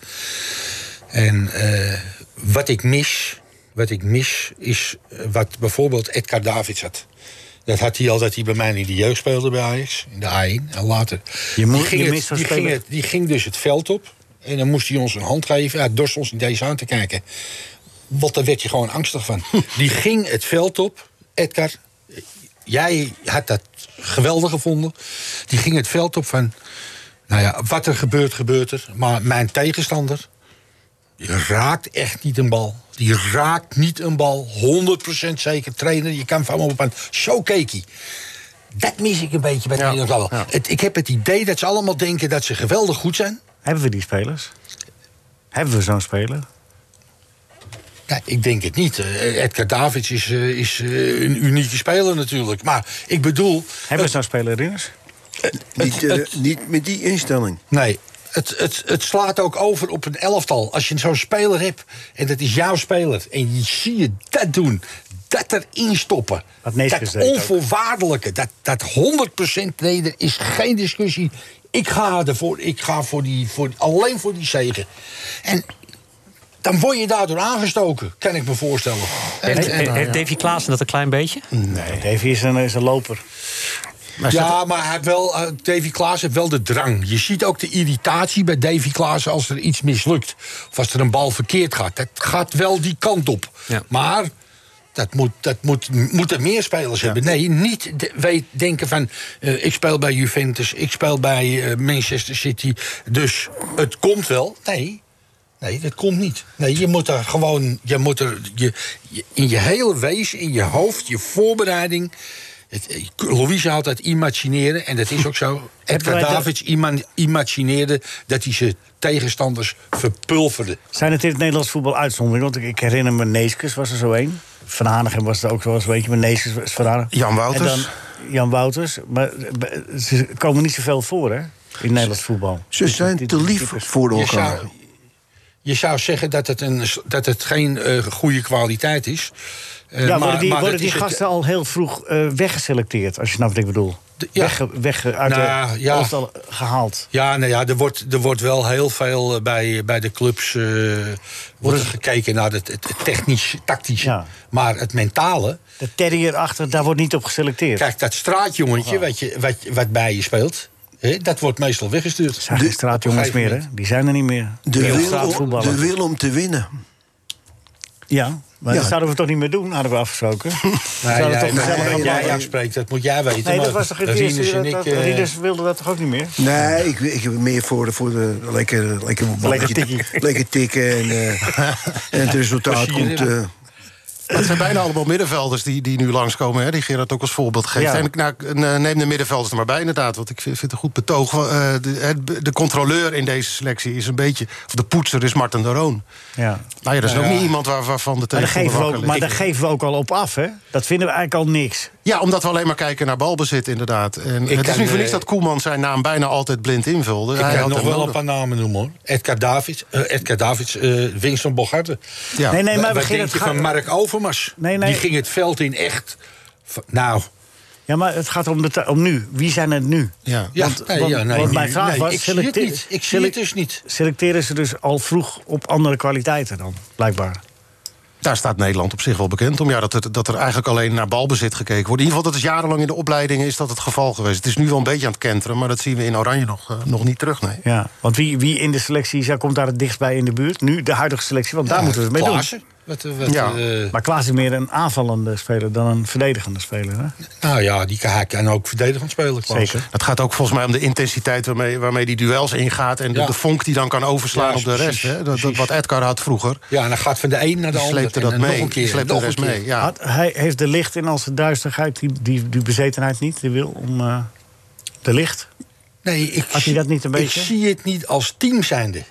En eh, wat ik mis, wat ik mis, is eh, wat bijvoorbeeld Edgar Davids had. Dat had hij al dat hij bij mij in de jeugd speelde bij Ajax, in de A1 en later. Je moet- die, ging je het- mist zo'n die, ging speler. het- die ging dus het veld op en dan moest hij ons een hand geven. Hij dorst ons niet eens aan te kijken. Want daar werd je gewoon angstig van. Die ging het veld op, Edgar. Jij had dat geweldig gevonden. Die ging het veld op van... Nou ja, wat er gebeurt, gebeurt er. Maar mijn tegenstander... Je raakt echt niet een bal. Die raakt niet een bal. 100% zeker trainer. Je kan van hem op een zo keek hij. Dat mis ik een beetje bij de Nederlands elftal. Het- Ik heb het idee dat ze allemaal denken dat ze geweldig goed zijn. Hebben we die spelers? Hebben we zo'n speler? Ja, ik denk het niet. Eh, Edgar Davids is, eh, is eh, een unieke speler natuurlijk. Maar ik bedoel... Hebben we zo'n nou speler, Rinners? Niet, eh, niet met die instelling. Nee, het, het, het slaat ook over op een elftal. Als je zo'n speler hebt en dat is jouw speler... en je zie je dat doen, dat erin stoppen... Wat Neeskens dat deed ook. onvoorwaardelijke, dat, dat 100% nee, er is geen discussie. Ik ga ervoor, ik ga voor die, voor, alleen voor die zegen. En dan word je daardoor aangestoken, kan ik me voorstellen. En- Heeft, en- heeft Davy Klaassen dat een klein beetje? Nee. Davy is een, is een loper. Ja, maar hij heeft wel, eh, Davy Klaas heeft wel de drang. Je ziet ook de irritatie bij Davy Klaas als er iets mislukt. Of als er een bal verkeerd gaat. Dat gaat wel die kant op. Ja. Maar dat moet, dat moet, moeten meer spelers hebben. Nee, niet de- wij denken van... eh, ik speel bij Juventus, ik speel bij eh, Manchester City. Dus het komt wel. Nee, Nee, dat komt niet. Nee, je moet daar gewoon, je moet er je, je- in je hele wezen, in je hoofd, je voorbereiding. Het, eh, Louise houdt dat imagineren en dat is ook zo. Edgar wij dat- Davids ima- imagineerde dat hij zijn tegenstanders verpulverde. Zijn het in het Nederlands voetbal uitzonderingen? Want ik, ik herinner me, Neeskens was er zo één. Van Hanegem was er ook wel eens, weet je, maar Neeskens was Van Hanegem. Jan Wouters. En dan Jan Wouters. Maar eh, be- ze komen niet zoveel voor, hè? In het Nederlands voetbal. Ze zijn te lief voor Je elkaar. zou, je zou zeggen dat het, een, dat het geen eh, goede kwaliteit is. Eh, ja, worden die, worden dat die is het- gasten al heel vroeg eh, weggeselecteerd, als je snapt wat ik bedoel? ja. Weg, weg uit Nou, de ja. elftal gehaald. Ja, nou ja, er wordt, er wordt wel heel veel eh, bij, bij de clubs eh, wordt er gekeken naar het, het technisch, tactische. Maar het mentale. De terrier achter, daar wordt niet op geselecteerd. Kijk, dat straatjongetje wat, je, wat, wat bij je speelt, hè, dat wordt meestal weggestuurd. Zijn geen straatjongens meer, hè? Die zijn er niet meer. De Die wil, om, straatvoetballers. de wil om te winnen. Ja, maar Ja. dat zouden we toch niet meer doen, hadden we afgesproken. Nee, Nee, dat nee, nee, gezellig dat allemaal- jij aanspreekt, dat moet jij weten. Nee, dat maar was toch het eerste Rinus uur en dat- dat- ik, eh, Rinus wilde dat toch ook niet meer? Nee, ik, ik heb meer voor de, voor de lekker, lekker, Lekker tikkie. lekker tikken en, eh, en het resultaat komt... eh, Maar Het zijn bijna allemaal middenvelders die, die nu langskomen, hè, die Gerard ook als voorbeeld geeft. Ja. En ik- nou, ik- eh, neem de middenvelders er maar bij, inderdaad. Want ik vind, vind het een goed betoog. Eh, de, het- de controleur in deze selectie is een beetje. Of de poetser is Martin de Roon. Ja. Nou ja, dat is Nou ook ja. niet iemand waar, waarvan de Maar daar, tegenstander geven we wakker ook, maar daar ligt. geven we ook al op af, hè? Dat vinden we eigenlijk al niks. Ja, omdat we alleen maar kijken naar balbezit, inderdaad. En het is kan, niet voor niks eh, dat Koeman zijn naam bijna altijd blind invulde. Hij Ik had kan nog hem wel nodig. een paar namen noemen hoor. Edgar Davids, eh, Edgar Davids eh, Winston Bogarde. Ja. Nee, nee, maar we Wat gingen denk het je ga- van Mark Overmars? Nee, nee. Die ging het veld in echt... van- Nou, Ja, maar het gaat om, de ta- om nu. Wie zijn het nu? Ja, ja, nee, want, ja, nee, want mijn nu- vraag nee, was... ik zie het selecte- niet. Ik zie het dus niet. Selecteren ze dus al vroeg op andere kwaliteiten dan, blijkbaar. Daar staat Nederland op zich wel bekend om. Ja, dat, er, dat er eigenlijk alleen naar balbezit gekeken wordt. In ieder geval, dat is jarenlang in de opleidingen is dat het geval geweest. Het is nu wel een beetje aan het kenteren, maar dat zien we in Oranje nog, eh, nog niet terug. Nee. Ja, want wie, wie in de selectie zou- komt daar het dichtst bij in de buurt? Nu, de huidige selectie, want daar moeten we het mee Klaassen. doen. Wat, wat, ja. eh, maar Klaas is meer een aanvallende speler dan een verdedigende speler. Hè? nou ja, die kan, hij kan ook verdedigend spelen, Klaassen. Zeker. Het gaat ook volgens mij om de intensiteit waarmee, waarmee die duels ingaat. En de- Ja. de, vonk die dan kan overslaan Ja, op de rest. precies, Hè? Dat, dat wat Edgar had vroeger. Ja, en dan gaat van de een naar de Die ander. sleepte en dat dan mee. Nog een Die keer. sleepte de nog een rest keer. Ah. mee, ja. Had- hij heeft de licht in als de duisterigheid, die, die, die bezetenheid niet, de wil om eh, de licht. Nee, ik, Had hij dat niet een ik beetje? zie het niet als team zijnde.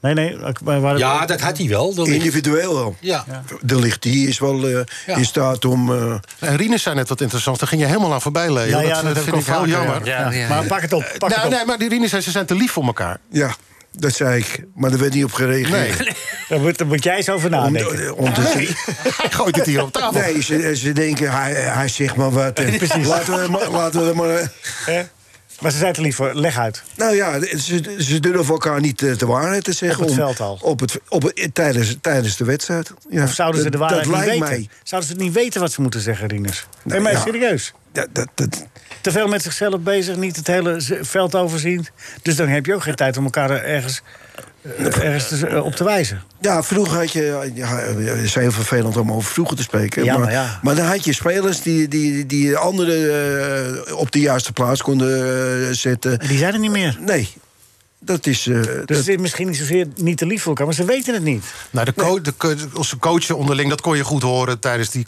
Nee, nee. ik- maar waar- Ja, dat had hij wel. dat- Individueel wel. Ja. De licht die is wel eh, Ja. in staat om... eh, En Rinus zei net wat interessant. Daar ging je helemaal aan voorbij, Leo. Ja, ja, dat, dat dat heb vind ik ik al heel vaker, jammer. ja. Ja, ja. Maar pak het op, pak nou, het op. Nee, maar die Rinus zei, ze zijn te lief voor elkaar. ja, dat zei ik. Maar daar werd niet op gereageerd. Nee. Daar moet, daar moet jij eens over Om- nadenken. om te- Hij gooit het hier op tafel. Nee, ze, ze denken, hij, hij zegt maar wat. En Precies. Laten we, maar- laten we maar... eh, Hè? Maar ze zijn te lief voor. Leg uit. Nou ja, ze, ze durven elkaar niet eh, de waarheid te zeggen. Op het om- veld al. Op het, op het- tijdens, tijdens de wedstrijd. Ja, Of zouden ze de dat- waarheid dat niet lijkt weten? Mij, Zouden ze niet weten wat ze moeten zeggen, Rinus? Nee, Nou, maar ja. serieus. dat, dat, dat- Te veel met zichzelf bezig, niet het hele z- veld overzien. Dus dan heb je ook geen tijd om elkaar ergens, eh, ergens te z- eh, op te wijzen. ja, vroeger had je... Ja, het is heel vervelend om over vroeger te spreken. Ja, maar, maar ja. maar dan had je spelers die, die, die anderen eh, op de juiste plaats konden eh, zetten. Eh, En die zijn er niet meer. Nee, dat is... eh, Dus dat- het is misschien niet zozeer niet te lief voor elkaar, maar ze weten het niet. Nou, de co de co- onze coachen onderling, dat kon je goed horen tijdens die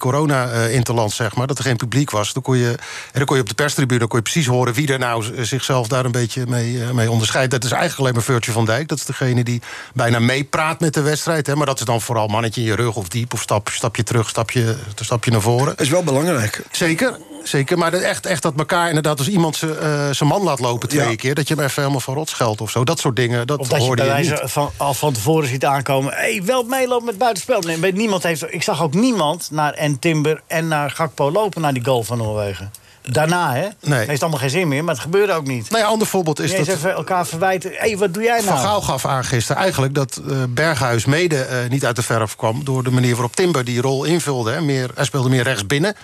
corona-interland, zeg maar. Dat er geen publiek was. Dan kon je, en dan kon je op de perstribune kon je precies horen wie er nou z- zichzelf daar een beetje mee, eh, mee onderscheidt. Dat is eigenlijk alleen maar Virtue van Dijk. Dat is degene die bijna meepraat met de wedstrijd. Hè. Maar dat is dan vooral mannetje in je rug of diep of stap, stapje terug, stapje, stapje naar voren. dat is wel belangrijk. Zeker, zeker. Maar dat echt, echt dat elkaar inderdaad als iemand zijn eh, zijn man laat lopen twee Ja. keer... dat je hem even helemaal van rot scheldt of zo. Dat soort dingen, dat, Of dat je hoorde bij je, niet. wijze van, al van tevoren ziet aankomen. Hé, hey, wel meelopen met buitenspel. Nee, maar niemand heeft, ik zag ook niemand naar en Timber en naar Gakpo lopen naar die goal van Noorwegen. Daarna, hè? Nee. Heeft allemaal geen zin meer, maar het gebeurde ook niet. Nou ja, ander voorbeeld is Niet eens dat... even elkaar verwijten. Hé, hey, wat doe jij nou? Van Gaal gaf aan gisteren eigenlijk dat eh, Berghuis mede eh, niet uit de verf kwam... door de manier waarop Timber die rol invulde. Hè. Meer, hij speelde meer rechts binnen.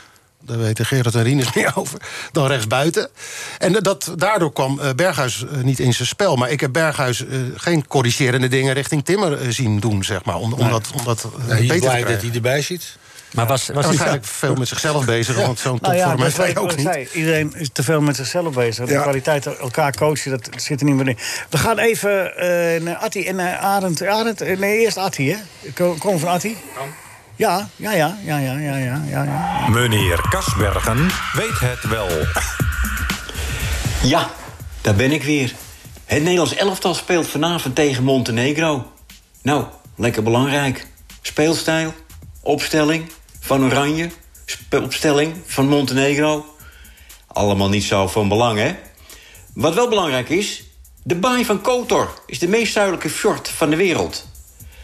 Daar weten Gerard en Rinus meer over. Dan rechts buiten. En dat, daardoor kwam eh, Berghuis eh, niet in zijn spel. Maar ik heb Berghuis eh, geen corrigerende dingen richting Timmer eh, zien doen, zeg maar. Om, om dat, om dat eh, Nou, Hij is beter blij te krijgen. dat hij erbij zit. Maar was, was En waarschijnlijk veel met zichzelf bezig, want zo'n Nou topvorm dat heeft is hij wat ook ik niet. zei. Iedereen is te veel met zichzelf bezig. De Ja. kwaliteit elkaar coachen, dat zit er niet meer in. We gaan even eh naar Atti en naar Arend. Arend eh, nee, eerst Atti, hè? Kom, kom van Atti. Ja, ja, ja, ja, ja, ja, ja, ja, ja. Meneer Kasbergen weet het wel. Ja, daar ben ik weer. Het Nederlands elftal speelt vanavond tegen Montenegro. Nou, lekker belangrijk. Speelstijl, opstelling van Oranje, spe- opstelling van Montenegro. Allemaal niet zo van belang, hè? Wat wel belangrijk is, de baai van Kotor is de meest zuidelijke fjord van de wereld.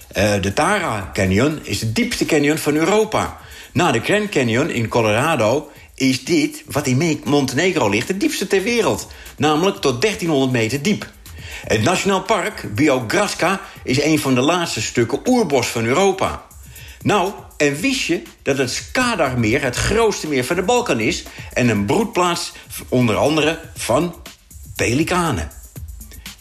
Eh, de Tara Canyon is de diepste canyon van Europa. Na de Grand Canyon in Colorado is dit, wat in Me- Montenegro ligt, de diepste ter wereld. Namelijk tot 1300 meter diep. Het Nationaal Park Biograska is een van de laatste stukken oerbos van Europa. Nou, en wist je dat het Skadarmeer het grootste meer van de Balkan is... en een broedplaats onder andere van pelikanen?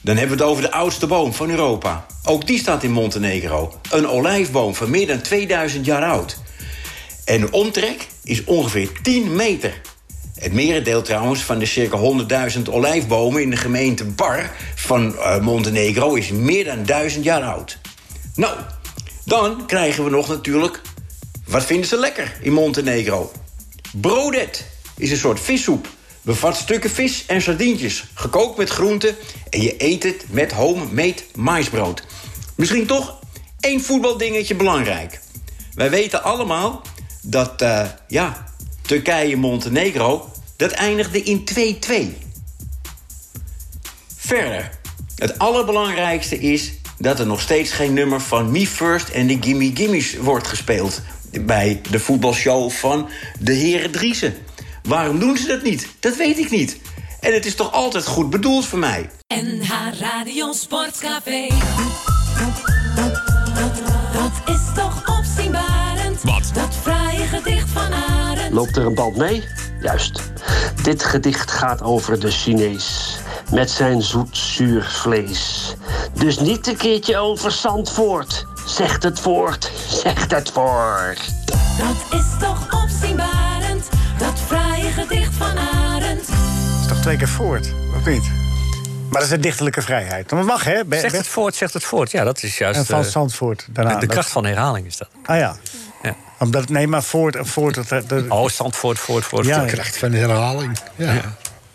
Dan hebben we het over de oudste boom van Europa. Ook die staat in Montenegro. Een olijfboom van meer dan 2000 jaar oud. En de omtrek is ongeveer 10 meter. Het merendeel trouwens van de circa 100.000 olijfbomen in de gemeente Bar van eh, Montenegro is meer dan 1000 jaar oud. Nou, dan krijgen we nog natuurlijk. Wat vinden ze lekker in Montenegro? Brodet is een soort vissoep. Bevat stukken vis en sardientjes, gekookt met groenten en je eet het met homemade maïsbrood. Misschien toch één voetbaldingetje belangrijk. Wij weten allemaal dat eh, ja, Turkije-Montenegro dat eindigde in 2-2. Verder, het allerbelangrijkste is dat er nog steeds geen nummer van Me First en de Gimme Gimme's wordt gespeeld bij de voetbalshow van de Heren Driessen. Waarom doen ze dat niet? Dat weet ik niet. En het is toch altijd goed bedoeld voor mij. NH Radio Sportcafé. Dat is toch opzienbarend. Wat? Dat fraaie gedicht van Arend. Loopt er een band mee? Juist. Dit gedicht gaat over de Chinees. Met zijn zoet-zuur vlees. Dus niet een keertje over Zandvoort. Zegt het voort, zegt het voort. Dat is toch opzienbarend. Dat fraaie gedicht van Arend. Dat is toch twee keer voort, of niet? Maar dat is de dichterlijke vrijheid. Dat mag, hè? Be- zegt be- het voort, zegt het voort. Ja, dat is juist... En van eh, Zandvoort daarna. de, de Dat- kracht van herhaling is dat. Ah ja. Ja. Omdat, nee, maar voort en voort. Dat, dat, dat- Oh, Zandvoort, voort, voort. Ja, voort. ja. Kracht van herhaling. Ja.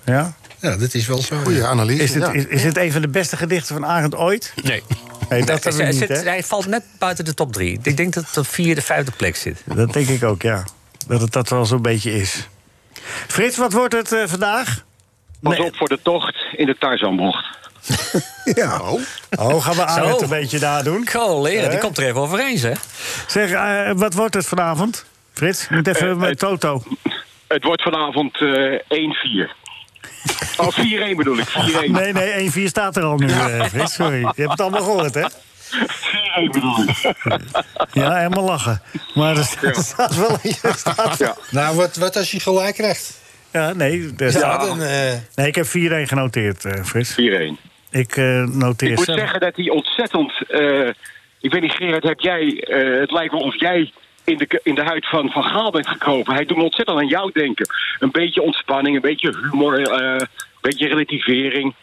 ja. Ja? dat is wel zo. ja. Is dit, is, is dit een van de beste gedichten van Arend ooit? Nee. Nee, dat Hij hebben we niet, zit- hè? Hij valt net buiten de top drie. Ik denk dat het op vierde, vijfde plek zit. Dat denk ik ook, ja. Dat het dat wel zo'n beetje is. Frits, wat wordt het eh, vandaag? Pas op voor de tocht in de Tarzanbocht. Ja. Oh, gaan we Arend Zo. een beetje daar doen? Collega, die Hè? komt er even overheen, zeg. Zeg, eh, wat wordt het vanavond? Frits, je moet even met Toto. Het wordt vanavond eh 1-4. Oh, 4-1 bedoel ik, 4-1. Nee, nee, 1-4 staat er al nu, eh, Frits. Sorry. Je hebt het allemaal gehoord, hè? 4-1 bedoel ik. Ja, helemaal lachen. Maar er staat, er staat wel in je staat. Ja. Nou, wat, wat als je gelijk krijgt? Ja, nee. er Ja, staat- dan, eh, Nee, ik heb 4-1 genoteerd, eh, Frits. 4-1. Ik eh, noteer Ik moet zelf. zeggen dat hij ontzettend... eh, ik weet niet, Gerard, heb jij, eh, het lijkt wel of jij in de, in de huid van Van Gaal bent gekropen. Hij doet me ontzettend aan jou denken. Een beetje ontspanning, een beetje humor, eh, een beetje relativering.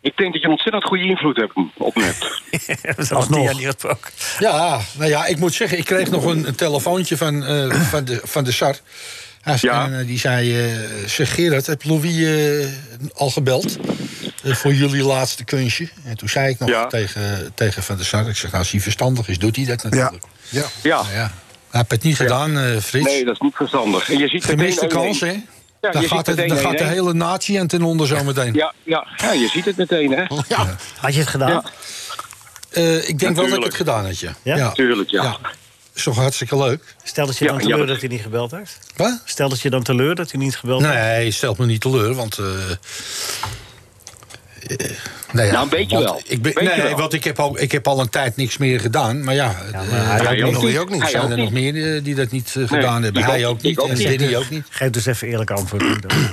Ik denk dat je een ontzettend goede invloed hebt op me hebt. Alsnog. Die had ook. Ja, nou ja, ik moet zeggen, ik kreeg nog een, een telefoontje van, eh, van, de, van de SAR. Hij zei- en, eh, die zei, eh, zeg Gerard, heb Louis eh, al gebeld Eh, voor jullie laatste kunstje? En toen zei ik nog tegen, tegen Van der Sar, ik zeg, nou, als hij verstandig is, doet hij dat natuurlijk. Ja. Nou Ja. ja. Hij heeft het niet gedaan, eh, Frits. Nee, dat is niet verstandig. En je ziet Gemiste meteen- kans, hè? Ja, dan je gaat, ziet het, dan meteen- gaat de nee, hele natie aan ten onder zometeen. Ja, ja, ja, je ziet het meteen, hè? Ja, Had je het gedaan? Eh, ik denk wel dat ik Natuurlijk. het gedaan had, ja. Ja? tuurlijk, ja. Is toch hartstikke leuk? Stel dat je dan teleur dat hij niet gebeld heeft? Wat? Stel dat je dan teleur dat hij niet gebeld heeft? Nee, stelt me niet teleur, want... eh, eh, nou, ja, Nou, een beetje want wel. Ik ben, Beetje nee, wel. want ik heb, al, ik heb al een tijd niks meer gedaan. Maar ja, eh, hij er ook nog- niet. Hij zijn ook er nog meer eh, die dat niet eh, gedaan hebben. ik Hij ook- ook ik niet ook en niet. Diddy ook niet. Geef dus even eerlijk antwoord.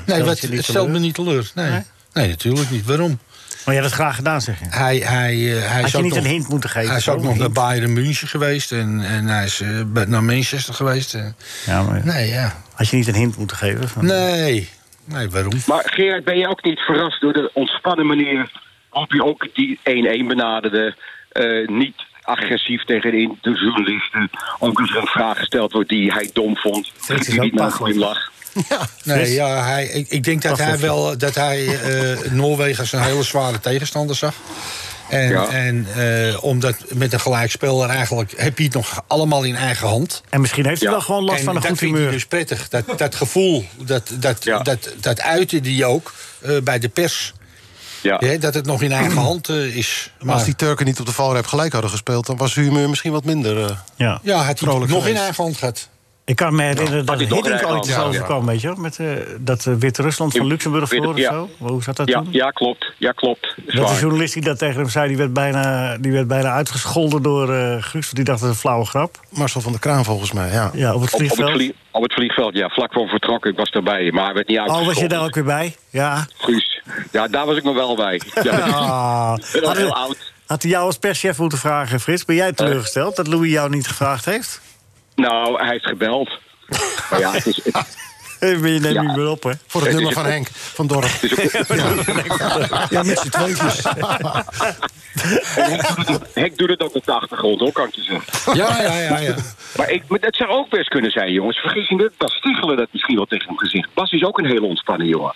Nee, wat, het stelt me niet teleur. Nee. Nee. Nee, natuurlijk niet. Waarom? Maar jij hebt het graag gedaan, zeg je? Hij, hij, eh, hij Had je is ook niet nog- een hint moeten geven, Hij is zo, ook nog een naar hint? Bayern München geweest en, en hij is eh, bij- naar Manchester geweest. eh. En, Ja, maar nee, ja. had je niet een hint moeten geven? Van... Nee. Nee, waarom? Maar Gerard, ben je ook niet verrast door de ontspannen manier waarop je ook die 1-1 benaderde? eh, niet agressief tegen de in- de journalisten. Ook als er een vraag gesteld wordt die hij dom vond. is Die ook niet naar Pavlov. glimlach. Nee, Fris. ja, hij, ik, ik denk dat Wacht hij even. wel dat hij eh, Noorwegen als een hele zware tegenstander zag. En, Ja. en eh, omdat met een gelijkspel er eigenlijk heb je het nog allemaal in eigen hand. En misschien heeft hij Ja. wel gewoon last En van een dat goed vind ik humeur. dus prettig. Dat, dat gevoel, dat, dat, dat, dat uitte die ook eh, bij de pers. Ja. Hè, dat het nog in eigen hand eh, is. Maar als die Turken niet op de valreep gelijk hadden gespeeld... dan was humeur misschien wat minder eh Ja. ja, had hij vrolijk nog in geweest. eigen hand gehad. Ik kan me herinneren Had dat hij nog Hiddink in ooit eigen eens hand, ja. overkwam, weet je wel? Met eh, dat eh, Wit-Rusland van In- Luxemburg Wit- verloor of ja. zo. Hoe zat dat Ja, toen? ja, klopt. Ja, klopt. Dat de Zwaar. journalist die dat tegen hem zei, die werd bijna, die werd bijna uitgescholden door eh Guus. want Die dacht dat het een flauwe grap. Marcel van der Kraan volgens mij, ja. Ja, op het Op, op, het vliegveld. vlie- op het vliegveld, ja. Vlak voor vertrokken, ik was erbij. Maar hij werd niet Oh, was je uitgescholden. daar ook weer bij? Ja. Guus. Ja, daar was ik nog wel bij. Ja. Ah, ik ben al had- heel oud. Had hij jou als perschef moeten vragen, Frits? Ben Eh. jij teleurgesteld dat Louis jou niet gevraagd heeft? Nou, hij heeft gebeld. Maar ja, het is, het- Eh, Ben je neemt Ja. dus niet meer op, hè? Voor het nummer van Henk van Dorp. Ja, met z'n tweetjes. Henk doet het ook op de achtergrond, hoor, kan ik je zeggen. Ja, ja, ja, ja. Maar, ik, maar dat zou ook best kunnen zijn, jongens. Vergis je niet, Bas Stichelen dat misschien wel tegen hem gezegd. Bas is ook een hele ontspannen jongen.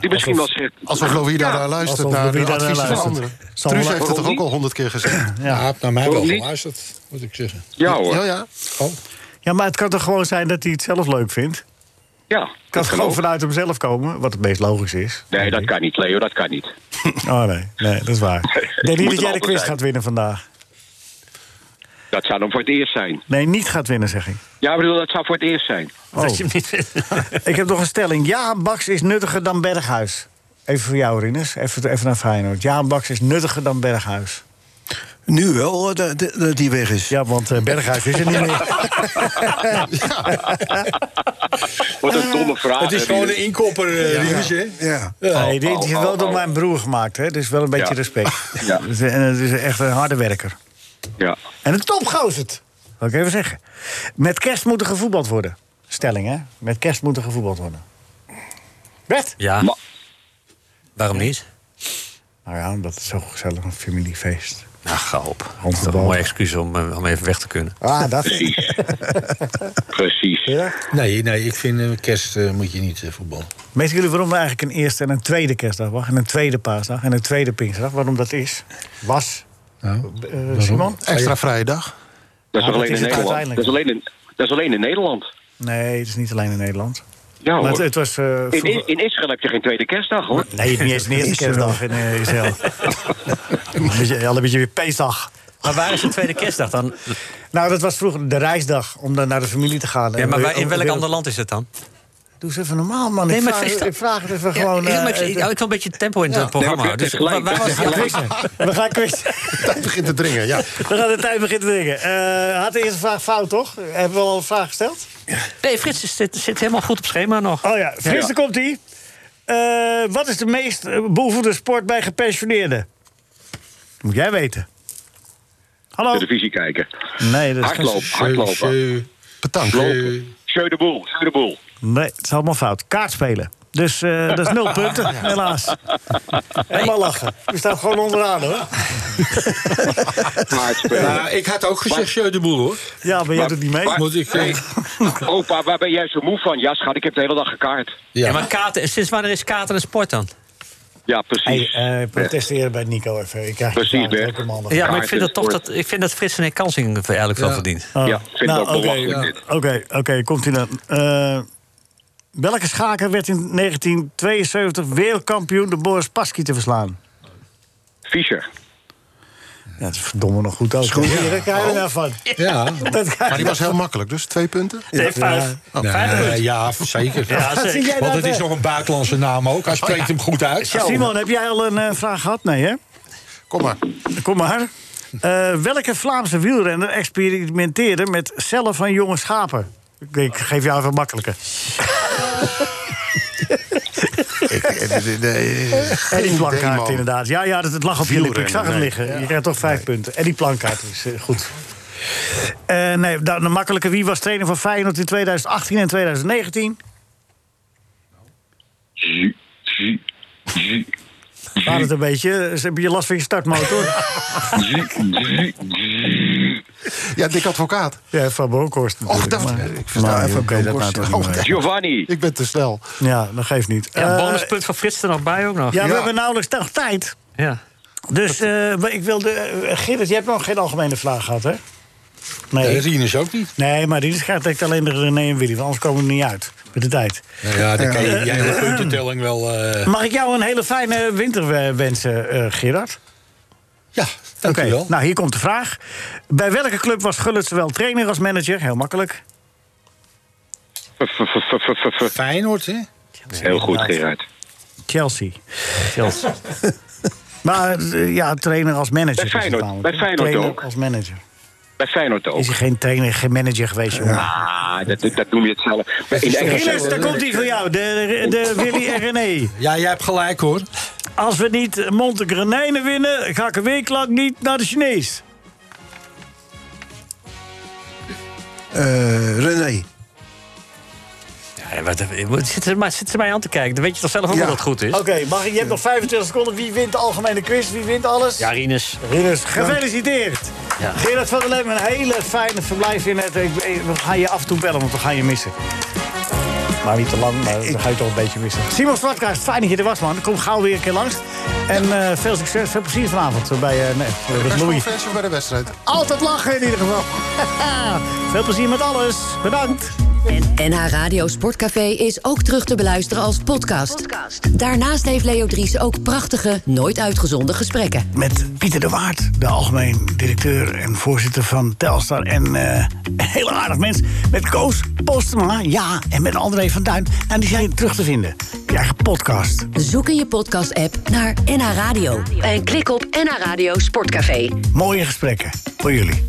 Die misschien alsof- wel zegt... Alsof Louis daar naar luistert Alsof naar Louis de daar naar adviezen van luistert. anderen. Zal Truus wel- heeft het toch Waarom ook al honderd keer gezegd? Ja, hij heeft naar mij wel Waarom niet? geluisterd, moet ik zeggen. Ja, hoor. Ja, Oh. ja. Ja, maar het kan toch gewoon zijn dat hij het zelf leuk vindt? Ja, Het kan gewoon vanuit hemzelf komen, wat het meest logisch is. Nee, dat kan niet, Leo, dat kan niet. Oh nee, nee dat is waar. Ik denk Moet het niet dat jij de altijd quiz zijn. gaat winnen vandaag. Dat zou dan voor het eerst zijn. Nee, niet gaat winnen, zeg ik. Ja, ik bedoel, dat zou voor het eerst zijn. Oh. ik heb nog een stelling. Jaan Baks is nuttiger dan Berghuis. Even voor jou, Rinus. Even, even naar Feyenoord. Jaan Baks is nuttiger dan Berghuis. Nu wel eh, dat- dat dat die weg is. Ja, want eh, Berghuis is er niet meer. Wat een domme vraag. Het is hè, gewoon Rinus. een inkopper, eh, Rinus, hè? Ja. Nee, dit is wel door mijn broer gemaakt, hè? Dus wel een beetje Ja. respect. Ja. Dus, eh, En het is echt een harde werker. Ja. En een topgozerd. Wil ik even zeggen. Met kerst moet er gevoetbald worden. Stelling, hè? Met kerst moet er gevoetbald worden. Bert? Ja. Waarom niet? Nou ja, dat is zo gezellig, een familiefeest. Nou, ga op. Dat is toch een mooi excuus om, eh, om even weg te kunnen. Ah, dat... Precies. Nee, nee, ik vind eh, kerst eh, moet je niet eh, voetballen. Weten jullie waarom we eigenlijk een eerste en een tweede kerstdag was? En een tweede paasdag en een tweede Pinksterdag? Waarom dat is? Was? Eh, Simon? Extra vrije dag. Dat is Ja, dat alleen is in het Nederland. uiteindelijk. Dat is alleen in- dat is alleen in Nederland. Nee, het is niet alleen in Nederland. Ja, maar hoor. het, het was... eh, In, vroeger- Is- in Israël heb je geen tweede kerstdag, hoor. Nee, niet eens een eerste kerstdag in eh, Israël. Al een beetje- Al een beetje weer Pesach. Maar waar is de tweede kerstdag dan? Nou, dat was vroeger de reisdag om dan naar de familie te gaan. Ja, maar En waar- in ook welk weer- ander land is het dan? Doe eens even normaal, man. Nee, ik, maar vraag, het is- ik vraag het even Ja, gewoon... ja, eh, maar ik, ik hou- ik wil een beetje tempo in het programma. maar Bert dus heeft waar, gelijk, waar was Bert heeft die? gelijk. We gaan quiz. Tijd begint te dringen, ja. We gaan de tijd beginnen te dringen. Eh, had de eerste vraag fout, toch? Hebben we al een vraag gesteld? Nee, Frits is- zit, zit helemaal goed op schema nog. Oh ja, Frits, daar komt ie. Eh, wat is de meest eh, beoefende sport bij gepensioneerden? Moet jij weten. Hallo? Televisie kijken. Nee, dat is Hardloop, eh, hardlopen. Bedankt. Lopen. Sjeu de boel, sjeu de boel. Nee, het is allemaal fout. Kaart spelen. Dus eh, dat is nul punten, helaas. Helemaal lachen. We staan gewoon onderaan, hoor. Kaartspelen. Nou, ik had ook gezegd Sjeu de Boel, hoor. Ja, Ah, maar jij doet niet mee. Maar- Moet ik... eh, Nee. Opa, waar ben jij zo moe van? Ja, schat, ik heb de hele dag gekaart. Ja. maar kaarten, sinds wanneer is kaarten een sport dan? Ja, Hey, precies. eh, protesteren bij Nico even. Ik krijg Precies, je Bert. ook een maandag. Ja, maar ik Kaarten, vind dat toch sport. dat, ik vind dat Frits en ik kansing er eigenlijk wel Ja. verdient. Oh. Ja, ik vind het ook oké, belachelijk, ja. dit. Oké, oké, komt ie dan. Eh, welke schaker werd in 1972 wereldkampioen de Boris Pasky te verslaan? Fischer. Ja, dat is verdomme nog goed ook. Schoen. Ja, daar krijg je nou van. Ja. Dat krijg Maar je die was heel makkelijk, dus twee punten. Nee, vijf. Vijf Nee, punten. ja, zeker. Ja, zeker. Zie jij Want dat, het is hè? nog een buitenlandse naam ook. Hij spreekt hem goed uit. Oh, Simon, heb jij al een eh, vraag gehad? Nee, hè? Kom maar. Kom maar. Eh, welke Vlaamse wielrenner experimenteerde met cellen van jonge schapen? Ik, ik geef jou even makkelijke. En die idee, plankaart man. inderdaad. Ja, ja dat, het lag op je lippen. Ik zag hem Nee. liggen. Je krijgt toch vijf punten. En die plankaart is eh, goed. Eh, nee, dan een makkelijke. Wie was trainer van Feyenoord in 2018 en 2019? Gaat het een beetje? Ze hebben je last van je startmotor? Ja, dik advocaat. Ja, van Bronckhorst Och, natuurlijk, dat, maar- ik versta Maar, even oké, dat Bronkhorst. maakt ook niet Oh, uit. Giovanni. Ik ben te snel. Ja, dat geeft niet. Ja, Eh, bonuspunt van Frits er nog bij ook nog. ja, we hebben nauwelijks nog tijd. Ja. Dus eh, maar ik wilde... eh, Gerrit, je hebt nog geen algemene vraag gehad, hè? Nee, Rinus ook niet. Nee, maar Rinus gaat denk ik alleen de René en Willy. Want anders komen we er niet uit met de tijd. Nou ja, dan kan je Eh, die hele puntentelling wel... eh, Mag ik jou een hele fijne winter eh, wensen, eh, Gerard? Ja, dankjewel. Nou, hier komt de vraag. Bij welke club was Gullit zowel trainer als manager? Heel makkelijk. Feyenoord, hè? Heel goed, Gerard. Chelsea. Chelsea. maar eh, ja, trainer als manager. Bij is het Feyenoord, namelijk, bij hè? Feyenoord trainer ook. als manager. Bij Feyenoord ook. Is hij geen trainer, geen manager geweest, jongen? Ah, dat, dat noem je het zelf. Maar in Engeland- Rinus, daar komt hij voor jou. De, de Willy en René. Ja, jij hebt gelijk, hoor. Als we niet Montegrenijnen winnen, ga ik een week lang niet naar de Chinees. Eh, René. Ja, wat, wat zitten ze maar- zitten ze mij aan te kijken? Dan weet je toch zelf ook wel dat het goed is? Oké, mag ik- je hebt nog 25 seconden. Wie wint de algemene quiz? Wie wint alles? Ja, Rinus. Rinus, gefeliciteerd. Ja. Gerard van der Lem, een hele fijne verblijf in het. Ik, ik- we gaan je af en toe bellen, want we gaan je missen. Maar niet te lang, maar we gaan je toch een beetje missen. Simon Zwartkaart, fijn dat je er was, man. Kom gauw weer een keer langs. En eh, veel succes, veel plezier vanavond bij eh, nee, bij Louis. Persconferentie bij de wedstrijd. Altijd lachen in ieder geval. veel plezier met alles. Bedankt. NH Radio Sportcafé is ook terug te beluisteren als podcast. Daarnaast heeft Leo Dries ook prachtige, nooit uitgezonden gesprekken. Met Pieter de Waard, de algemeen directeur en voorzitter van Telstar. En eh, een heel aardig mens. Met Koos Postema, ja. En met André van Duin. En die zijn terug te vinden. Je eigen podcast. Zoek in je podcast-app naar NH Radio. En klik op NH Radio Sportcafé. Mooie gesprekken voor jullie.